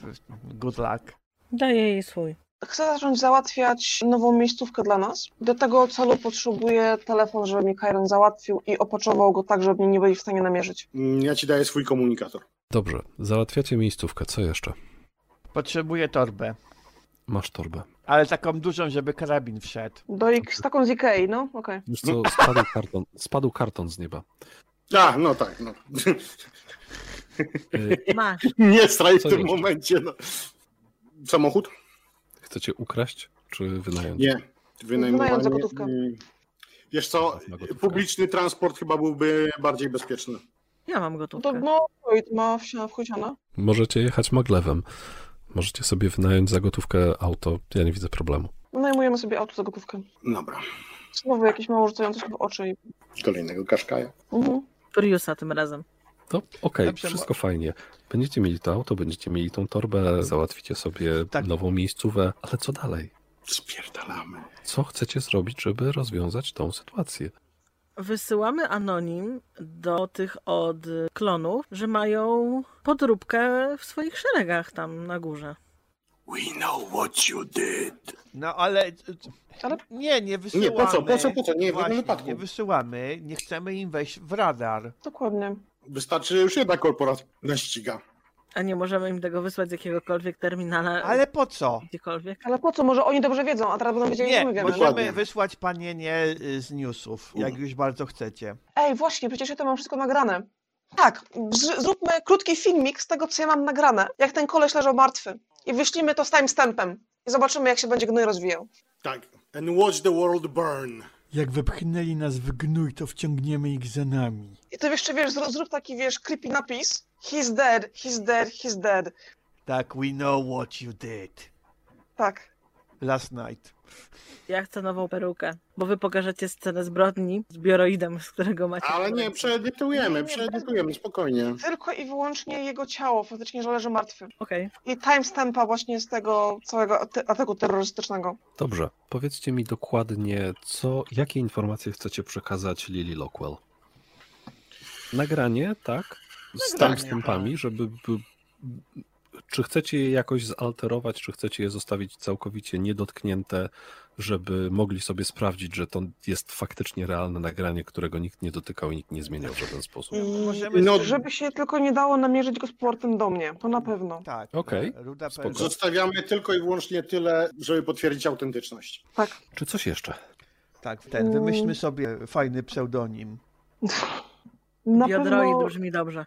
good luck.
Daję jej swój.
Tak Chcę zacząć załatwiać nową miejscówkę dla nas. Do tego celu potrzebuję telefon, żeby mi Kairon załatwił i opoczował go tak, żeby mnie nie byli w stanie namierzyć.
Mm, Ja ci daję swój komunikator.
Dobrze, załatwiacie miejscówkę, co jeszcze?
Potrzebuję torbę.
Masz torbę.
Ale taką dużą, żeby karabin wszedł.
Do ich z taką z Ikei, no okej.
Wiesz co, spadł karton, spadł karton z nieba.
A, no tak, no.
Y,
Masz.
Nie straj w
Co
tym
jeszcze?
momencie. No. Samochód?
Chcecie ukraść czy wynająć?
Nie. Wynajmowanie.
Wynająć za gotówkę.
mm, Wiesz co,
Na gotówkę.
publiczny transport chyba byłby bardziej bezpieczny.
Ja mam
To
gotówkę.
no, Droid ma wsi- wchodziana.
Możecie jechać maglewem. Możecie sobie wynająć za gotówkę auto, ja nie widzę problemu.
Najmujemy sobie auto za gotówkę.
Dobra,
Znowu jakieś mało rzucające się w oczy. I...
kolejnego kaszkaja.
Mhm.
Priusa tym razem.
To okej,
Dobrze,
wszystko fajnie. Będziecie mieli to auto, będziecie mieli tą torbę, załatwicie sobie
Tak.
nową miejscówę, ale co dalej?
Spierdalamy.
Co chcecie zrobić, żeby rozwiązać tą sytuację?
Wysyłamy anonim do tych od klonów, że mają podróbkę w swoich szeregach tam na górze.
We know what you did.
No ale...
Ale-
Nie, nie wysyłamy.
po co, po co, po co? Nie, w żadnym
Właśnie,
wypadku.
Nie wysyłamy, nie chcemy im wejść w radar.
Dokładnie.
Wystarczy, że już jedna korporacja nas ściga.
A nie możemy im tego wysłać z jakiegokolwiek terminala.
Ale po co?
Gdziekolwiek.
Ale po co? Może oni dobrze wiedzą, a teraz będą wiedzieli,
Nie,
że my wiemy.
możemy
no?
Dokładnie.
wysłać panienie y, z newsów, jak już bardzo chcecie.
Ej, właśnie, przecież ja to mam wszystko nagrane. Tak, z- zróbmy krótki filmik z tego, co ja mam nagrane, jak ten koleś leżał martwy. I wyślijmy to z timestampem. I zobaczymy, jak się będzie gnój rozwijał.
Tak. And watch the world burn.
Jak wepchnęli nas w gnój, to wciągniemy ich za nami.
I to jeszcze, wiesz, zró- zrób taki, wiesz, creepy napis. He's dead, he's dead, he's dead.
Tak, we know what you did.
Tak.
Last night.
Ja chcę nową perukę, bo wy pokażecie scenę zbrodni z bioroidem, z którego macie.
Ale nie,
perukę.
Nie,
przeedytujemy,
Tak nie,
przeedytujemy, spokojnie.
Tylko i wyłącznie jego ciało, faktycznie, że leży martwy.
Okej.
I timestampa właśnie z tego całego ate- ataku terrorystycznego.
Dobrze, powiedzcie mi dokładnie, co, jakie informacje chcecie przekazać Lily Lockwell. Nagranie, tak? Z
Nagranie,
timestampami, żeby. by- Czy chcecie je jakoś zalterować, czy chcecie je zostawić całkowicie niedotknięte, żeby mogli sobie sprawdzić, że to jest faktycznie realne nagranie, którego nikt nie dotykał i nikt nie zmieniał w żaden sposób?
I
Możemy
No,
z-
żeby się tylko nie dało namierzyć go z portem do mnie, to na pewno.
Tak.
Okej,
e, Ruda
spoko.
Perła.
Zostawiamy tylko i wyłącznie tyle, żeby potwierdzić autentyczność.
Tak.
Czy coś jeszcze?
Mm.
Tak, ten. Wymyślmy sobie fajny pseudonim.
Na
Biodroid
pewno,
brzmi dobrze.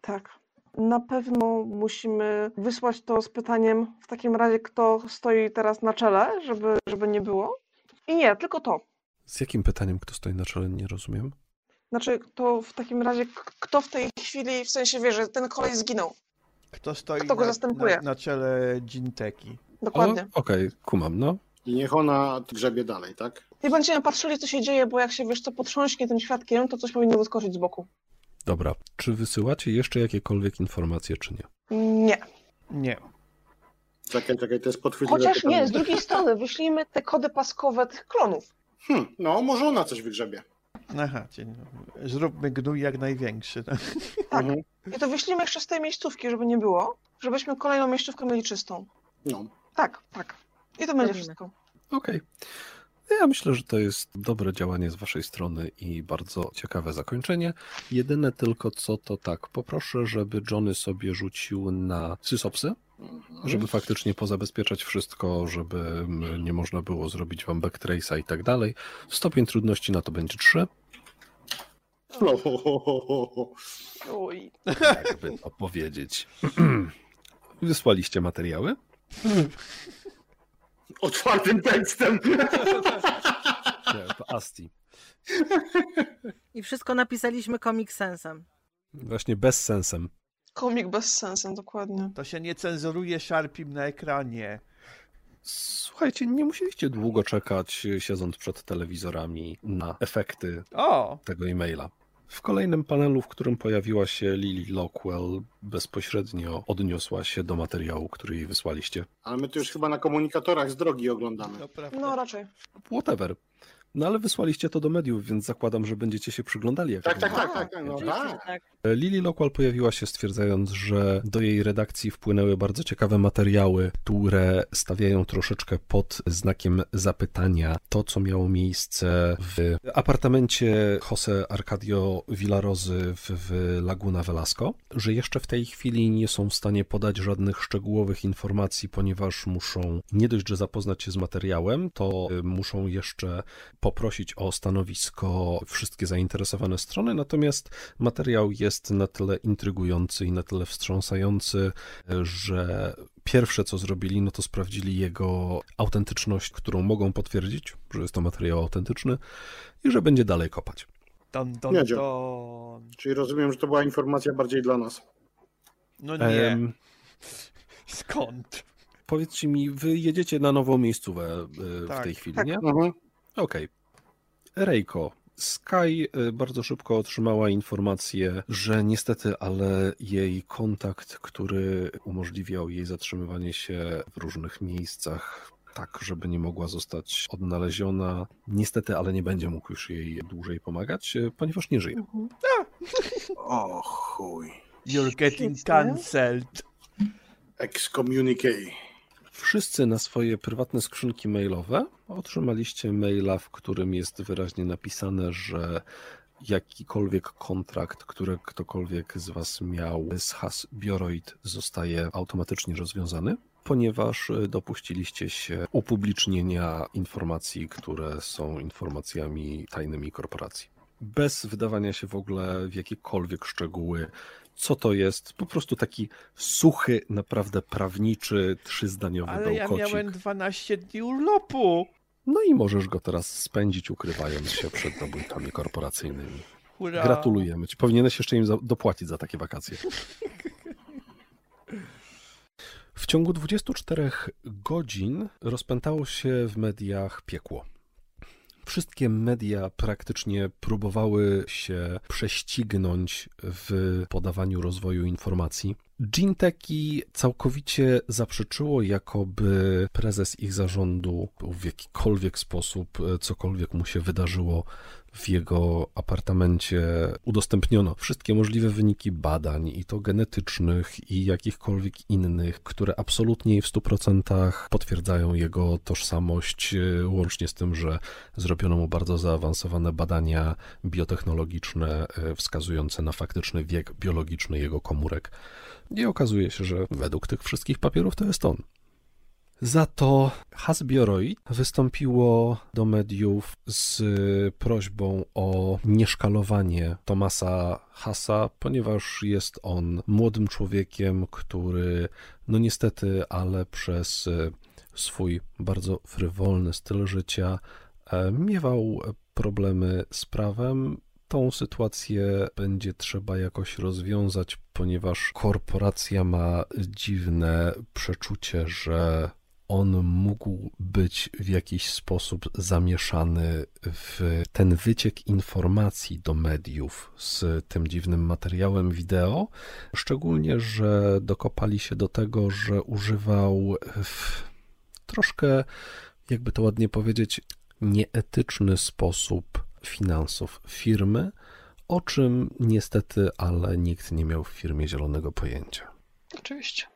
Tak. Na pewno musimy wysłać to z pytaniem w takim razie, kto stoi teraz na czele, żeby, żeby nie było. I nie, tylko to.
Z jakim pytaniem kto stoi na czele, nie rozumiem.
Znaczy, to w takim razie, k- kto w tej chwili, w sensie wie, że ten kolej zginął.
Kto stoi
Kto go
na,
zastępuje?
na, na czele Ginteki?
O,
Dokładnie.
Okej, kumam, no.
I niech ona grzebie dalej, tak?
Nie będziemy patrzyli, co się dzieje, bo jak się wiesz, co potrząśnie tym świadkiem, to coś powinno wyskoczyć z boku.
Dobra, czy wysyłacie jeszcze jakiekolwiek informacje, czy nie?
Nie.
Nie.
Czekaj, czekaj, to jest podchwytliwe
Chociaż
pytanie.
nie, z drugiej strony wyślijmy te kody paskowe tych klonów.
Hmm, no, może ona coś wygrzebie.
Aha, dzień dobry. Zróbmy gnój jak największy.
Tak.
Mhm.
I to wyślijmy jeszcze z tej miejscówki, żeby nie było, żebyśmy kolejną miejscówkę mieli czystą.
No.
Tak, tak. I to będzie
Robimy.
wszystko.
Okej. Ja myślę, że to jest dobre działanie z waszej strony i bardzo ciekawe zakończenie. Jedyne tylko co to tak, poproszę, żeby Johnny sobie rzucił na sysopsy,
Mhm.
żeby faktycznie pozabezpieczać wszystko, żeby mm, nie można było zrobić wam backtrace'a i tak dalej. Stopień trudności na to będzie 3.
Ho, ho, ho, ho, ho, ho.
Oj.
jakby opowiedzieć. Wysłaliście materiały?
Otwartym tekstem.
Nie, to Asti.
I wszystko napisaliśmy Comic Sensem.
Właśnie bez sensem.
Komik bez sensu, dokładnie.
To się nie cenzuruje szarpim na ekranie.
Słuchajcie, nie musieliście długo czekać, y, siedząc przed telewizorami, na efekty
O!
tego e-maila. W kolejnym panelu, w którym pojawiła się Lily Lockwell, bezpośrednio odniosła się do materiału, który jej wysłaliście.
Ale my to już chyba na komunikatorach z drogi oglądamy.
To prawda.
No raczej.
Whatever. No ale wysłaliście to do mediów, więc zakładam, że będziecie się przyglądali. Jak
Tak,
to
tak,
będzie.
tak, tak, tak, no
Oczywiście,
tak.
że tak.
Lily Lockwell pojawiła się stwierdzając, że do jej redakcji wpłynęły bardzo ciekawe materiały, które stawiają troszeczkę pod znakiem zapytania to, co miało miejsce w apartamencie Jose Arcadio Villarozy w, w Laguna Velasco, że jeszcze w tej chwili nie są w stanie podać żadnych szczegółowych informacji, ponieważ muszą nie dość, że zapoznać się z materiałem, to y, muszą jeszcze poprosić o stanowisko wszystkie zainteresowane strony, natomiast Materiał jest na tyle intrygujący i na tyle wstrząsający, że pierwsze co zrobili, no to sprawdzili jego autentyczność, którą mogą potwierdzić, że jest to materiał autentyczny i że będzie dalej kopać.
Don, don,
Jedzie.
don.
Czyli rozumiem, że to była informacja bardziej dla nas.
No nie.
Em,
Skąd?
powiedzcie mi, wy jedziecie na nową miejscówę y, w
Tak.
tej chwili,
Tak.
nie?
Mhm.
Okej. Rejko. Sky y, bardzo szybko otrzymała informację, że niestety, ale jej kontakt, który umożliwiał jej zatrzymywanie się w różnych miejscach, tak, żeby nie mogła zostać odnaleziona, niestety, ale nie będzie mógł już jej dłużej pomagać, y, ponieważ nie żyje.
O chuj.
You're getting
Świetnie.
cancelled.
Excommunicate.
Wszyscy na swoje prywatne skrzynki mailowe otrzymaliście maila, w którym jest wyraźnie napisane, że jakikolwiek kontrakt, który ktokolwiek z Was miał z has Bioroid zostaje automatycznie rozwiązany, ponieważ y, dopuściliście się upublicznienia informacji, które są informacjami tajnymi korporacji. Bez wdawania się w ogóle w jakiekolwiek szczegóły, co to jest, po prostu taki suchy, naprawdę prawniczy, trzyzdaniowy
Ale ja
bełkocik.
miałem 12 dni urlopu.
No i możesz go teraz spędzić, ukrywając się przed nabójkami korporacyjnymi.
Hurra.
Gratulujemy ci. Powinieneś jeszcze im za- dopłacić za takie wakacje. W ciągu 24 godzin rozpętało się w mediach piekło. Wszystkie media praktycznie próbowały się prześcignąć w podawaniu rozwoju informacji. Ginteki całkowicie zaprzeczyło, jakoby prezes ich zarządu był w jakikolwiek sposób, e, cokolwiek mu się wydarzyło w jego apartamencie, udostępniono wszystkie możliwe wyniki badań, i to genetycznych, i jakichkolwiek innych, które absolutnie i w 100% potwierdzają jego tożsamość, e, łącznie z tym, że zrobiono mu bardzo zaawansowane badania biotechnologiczne e, wskazujące na faktyczny wiek biologiczny jego komórek. I okazuje się, że według tych wszystkich papierów to jest on. Za to Hasbioroi wystąpiło do mediów z prośbą o nieszkalowanie Tomasa Hasa, ponieważ jest on młodym człowiekiem, który no niestety, ale przez e, swój bardzo frywolny styl życia e, miewał problemy z prawem. Tą sytuację będzie trzeba jakoś rozwiązać, ponieważ korporacja ma dziwne przeczucie, że on mógł być w jakiś sposób zamieszany w ten wyciek informacji do mediów z tym dziwnym materiałem wideo. Szczególnie, że dokopali się do tego, że używał w troszkę, jakby to ładnie powiedzieć, nieetyczny sposób finansów firmy, o czym niestety, ale nikt nie miał w firmie zielonego pojęcia.
Oczywiście.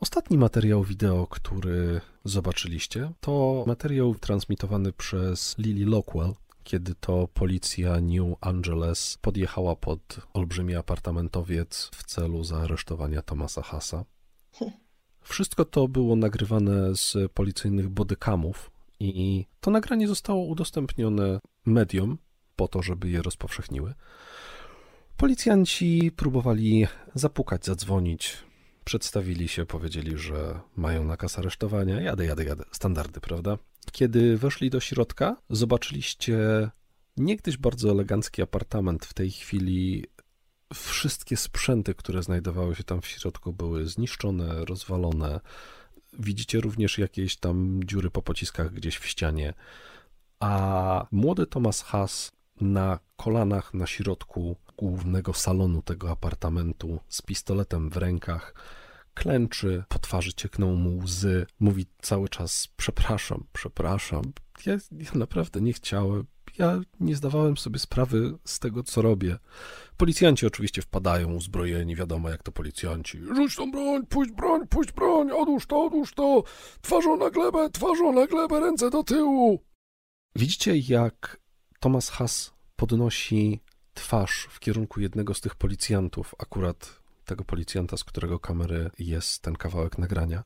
Ostatni materiał wideo, który zobaczyliście, to materiał transmitowany przez Lily Lockwell, kiedy to policja New Angeles podjechała pod olbrzymi apartamentowiec w celu zaaresztowania Tomasa Hasa. Wszystko to było nagrywane z policyjnych bodykamów i to nagranie zostało udostępnione mediom po to, żeby je rozpowszechniły. Policjanci próbowali zapukać, zadzwonić, przedstawili się, powiedzieli, że mają nakaz aresztowania. Jadę, jadę, jadę. Standardy, prawda? Kiedy weszli do środka, zobaczyliście niegdyś bardzo elegancki apartament. W tej chwili wszystkie sprzęty, które znajdowały się tam w środku, były zniszczone, rozwalone. Widzicie również jakieś tam dziury po pociskach gdzieś w ścianie. A młody Thomas Haas na kolanach na środku głównego salonu tego apartamentu z pistoletem w rękach. Klęczy, po twarzy ciekną mu łzy, mówi cały czas: Przepraszam, przepraszam. Ja, ja naprawdę nie chciałem. Ja nie zdawałem sobie sprawy z tego, co robię. Policjanci oczywiście wpadają uzbrojeni, wiadomo jak to policjanci. Rzuć tą broń, puść broń, puść broń, odłóż to, odłóż to. Twarzą na glebę, twarzą na glebę, ręce do tyłu. Widzicie, jak Thomas Haas podnosi twarz w kierunku jednego z tych policjantów, akurat tego policjanta, z którego kamery jest ten kawałek nagrania.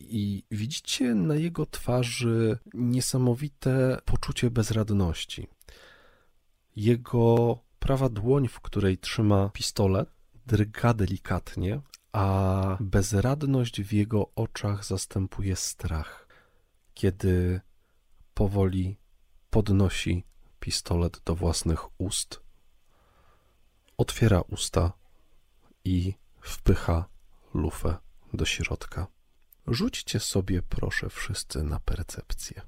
I widzicie na jego twarzy niesamowite poczucie bezradności. Jego prawa dłoń, w której trzyma pistolet, drga delikatnie, a bezradność w jego oczach zastępuje strach, kiedy powoli podnosi pistolet do własnych ust, otwiera usta i wpycha lufę do środka. Rzućcie sobie, proszę, wszyscy na percepcję.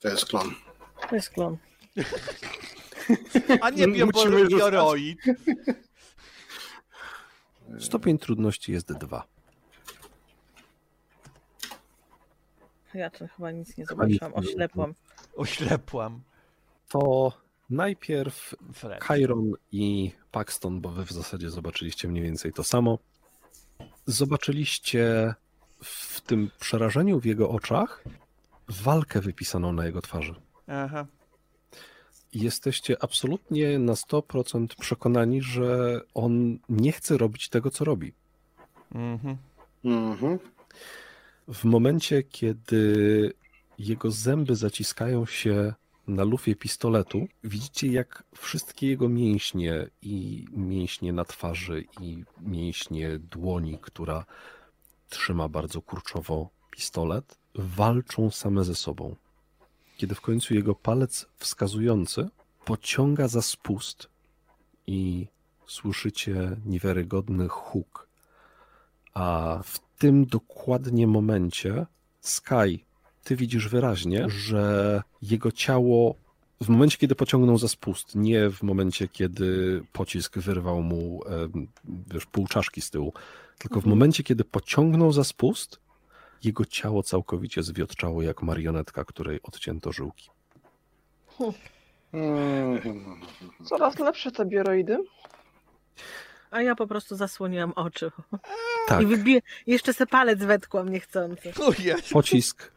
To jest klon.
To jest klon.
A nie bio-
Musimy
bio-
rzucać.
bioroid.
Stopień trudności jest dwa.
Ja tu chyba nic nie
Chyba nic
zobaczyłam,
nie
oślepłam.
Oślepłam.
To najpierw
Fred.
Chiron i Paxton, bo wy w zasadzie zobaczyliście mniej więcej to samo. Zobaczyliście w tym przerażeniu w jego oczach walkę wypisaną na jego twarzy.
Aha.
jesteście absolutnie na 100% przekonani, że on nie chce robić tego, co robi.
Mhm.
Mhm.
W momencie, kiedy jego zęby zaciskają się na lufie pistoletu, widzicie, jak wszystkie jego mięśnie i mięśnie na twarzy i mięśnie dłoni, która trzyma bardzo kurczowo pistolet, walczą same ze sobą. Kiedy w końcu jego palec wskazujący pociąga za spust i słyszycie niewiarygodny huk a w tym dokładnie momencie Sky, ty widzisz wyraźnie, że jego ciało w momencie, kiedy pociągnął za spust, nie w momencie, kiedy pocisk wyrwał mu em, wiesz, pół czaszki z tyłu, tylko w momencie, kiedy pociągnął za spust, jego ciało całkowicie zwiotczało jak marionetka, której odcięto żyłki.
Mhm.
Coraz lepsze te bioroidy.
A ja po prostu zasłoniłam oczy.
Tak,
I wybiję, jeszcze se palec wetkłam niechcący.
O jest.
pocisk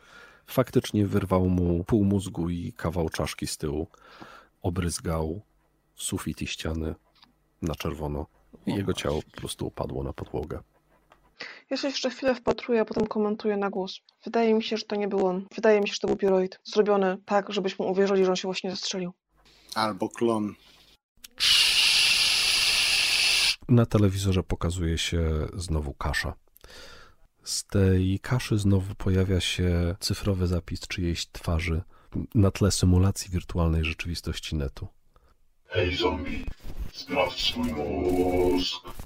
faktycznie wyrwał mu pół mózgu i kawał czaszki z tyłu. Obryzgał sufit i ściany na czerwono. I jego ciało po prostu upadło na podłogę.
Ja się jeszcze chwilę wpatruję, a potem komentuję na głos. Wydaje mi się, że to nie był on. Wydaje mi się, że to był biuroid. Zrobiony tak, żebyśmy uwierzyli, że on się właśnie zastrzelił.
Albo klon.
Na telewizorze pokazuje się znowu kasza. Z tej kaszy znowu pojawia się cyfrowy zapis czyjejś twarzy na tle symulacji wirtualnej rzeczywistości netu.
Hej zombie, sprawdź swój mózg.